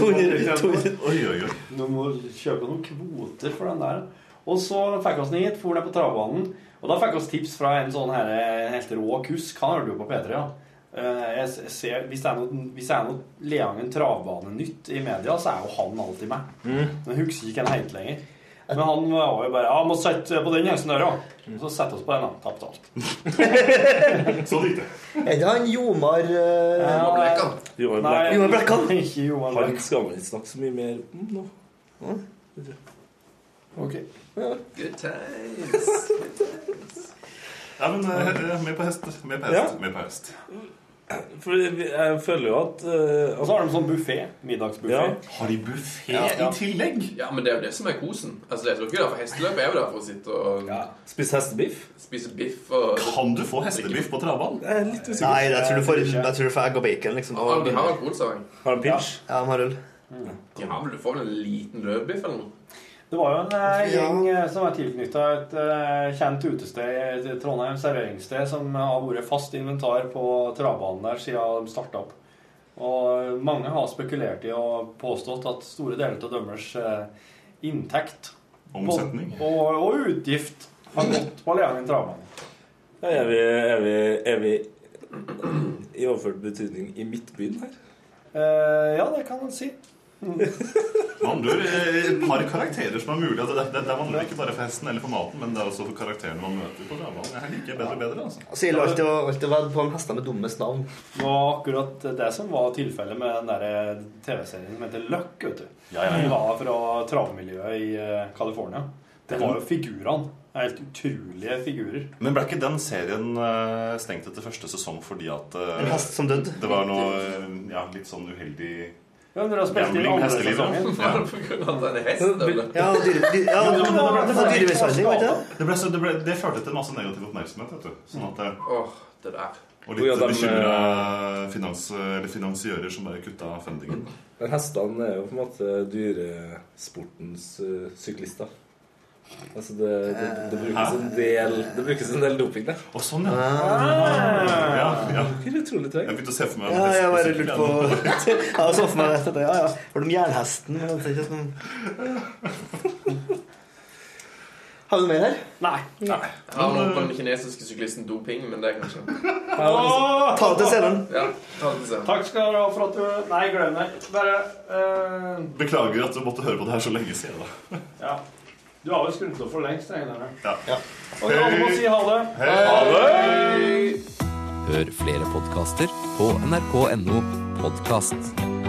Speaker 5: 200 200.
Speaker 9: Oi, oi, oi.
Speaker 7: Du må kjøpe noen kvoter for den der. Og så fikk vi den hit, for ned på travbanen. Og da fikk vi tips fra en sånn her eh, helt rå kusk. Han hørte jo på P3, ja. Eh, Jeg s- ser, hvis det er noe, hvis det er noe Leangen travbane-nytt i media, så er jo han alltid med. Men jeg husker ikke hvem han het lenger. Men han var jo bare Ja, må sette på den hesten der,
Speaker 3: Mm.
Speaker 7: ja. Så sette oss på den, da. Tapte alt.
Speaker 9: Sånn gikk det.
Speaker 5: Er det han Jomar eh,
Speaker 7: Jomar Blekkan.
Speaker 3: Johan
Speaker 7: Nei,
Speaker 3: Blekkan.
Speaker 5: Johan Blekkan.
Speaker 7: Ikke Johan
Speaker 3: Han
Speaker 7: Blekkan.
Speaker 3: skal man ikke snakke så mye mer om nå.
Speaker 7: Ok.
Speaker 10: Good times.
Speaker 9: Ja, men eh, med på hest. Med på hest. Med på hest.
Speaker 3: For jeg, jeg føler jo at eh,
Speaker 7: Og så har de sånn buffé. Middagsbuffé.
Speaker 3: Ja.
Speaker 9: Har de buffé
Speaker 10: Ja, ja.
Speaker 9: i tillegg?
Speaker 10: Ja, men det er jo det som er kosen. Altså, jeg tror ikke det er for hesteløp. Jeg er jo der for å sitte og
Speaker 3: Spise hestebiff?
Speaker 10: spise biff og
Speaker 9: Kan du få hestebiff på travbanen?
Speaker 3: Jeg er litt usikker.
Speaker 5: Nei, jeg tror du får, jeg tror du får egg og bacon, liksom.
Speaker 10: Ja, de har alkoholservering.
Speaker 3: Har han pils?
Speaker 5: Ja, de har øl.
Speaker 10: De har vel du får vel en liten løvbiff eller noe?
Speaker 7: Det var jo en eh,
Speaker 5: Ja.
Speaker 7: gjeng eh, som er tilknytta et eh, kjent utested i et Trondheim, serveringssted, som eh, har vært fast inventar på travbanen der siden de starta opp. Og eh, mange har spekulert i og påstått at store deler av dømmers eh, inntekt
Speaker 9: Omsetning.
Speaker 7: og, og, og utgift har gått på Leangen travbane.
Speaker 3: Ja, er, vi, er, vi, er vi i overført betydning i midtbyen her?
Speaker 7: Eh, ja, det kan man si.
Speaker 9: Man dør eh, et par karakterer som er mulig. Altså, det, det, det vandrer ikke bare for hesten eller for maten, men det er også for karakterene man møter på travbanen. Jeg liker bedre og bedre, altså.
Speaker 5: Så gjelder det alltid å- alltid å være på en hester med dummest navn.
Speaker 7: Det var akkurat det som var tilfellet med den der eh, TV-serien som heter Luck. vet du.
Speaker 9: Ja, ja, ja.
Speaker 7: Den var fra travmiljøet i eh, California. Det var jo figurene. Helt utrolige figurer.
Speaker 9: Men ble ikke den serien eh, stengt etter første sesong fordi at eh,
Speaker 5: En hest som døde.
Speaker 9: det var noe eh, ja, litt sånn uheldig
Speaker 7: Ja, Dere har spilt inn
Speaker 9: Gambling,
Speaker 7: andre
Speaker 9: hesteliv, ja.
Speaker 7: sesongen.
Speaker 9: Ja.
Speaker 10: sånn? På grunn av at det er en hest? eller?
Speaker 5: Ja, og dyre, dyre, ja, det var dyremishandling, var det ikke det?
Speaker 9: Det, ble, så- det, ble, det førte til masse negativ oppmerksomhet. vet du sånn at, eh,
Speaker 10: Åh, det der.
Speaker 9: Og
Speaker 3: Ja,
Speaker 9: litt
Speaker 3: de,
Speaker 9: bekymra finans, eller finansiører som bare kutta fundingen.
Speaker 3: Men hestene er jo på en måte dyresportens eh, syklister. Altså det, det, det,
Speaker 9: Eh,
Speaker 3: brukes en del, det brukes en del doping der.
Speaker 9: Å, sånn, ja.
Speaker 5: Ah.
Speaker 9: ja, ja.
Speaker 3: Det er utrolig
Speaker 9: Jeg
Speaker 3: tregt.
Speaker 9: begynte å se for meg en
Speaker 5: Ja,
Speaker 9: hest
Speaker 5: jeg
Speaker 9: på
Speaker 5: bare
Speaker 9: sykkel,
Speaker 5: lurte
Speaker 9: ja.
Speaker 5: på Ja, jeg så for meg dette. Ja, ja. Var det om jernhesten? men det er ikke sånn-
Speaker 9: Har du mer her?
Speaker 15: Nei.
Speaker 16: Jeg har noe på den kinesiske syklisten doping, men det er kanskje
Speaker 9: Ta det til scenen.
Speaker 16: Ja, ta det til scenen.
Speaker 15: Takk skal dere ha for at du Nei, glem det. Bare eh,
Speaker 17: Beklager at du måtte høre på det her så lenge siden. da.
Speaker 15: Ja. Du har jo skrudd opp for lengst, regner jeg med.
Speaker 17: Ja.
Speaker 15: Og alle må si ha det.
Speaker 7: Hør flere podkaster på nrk.no podkast.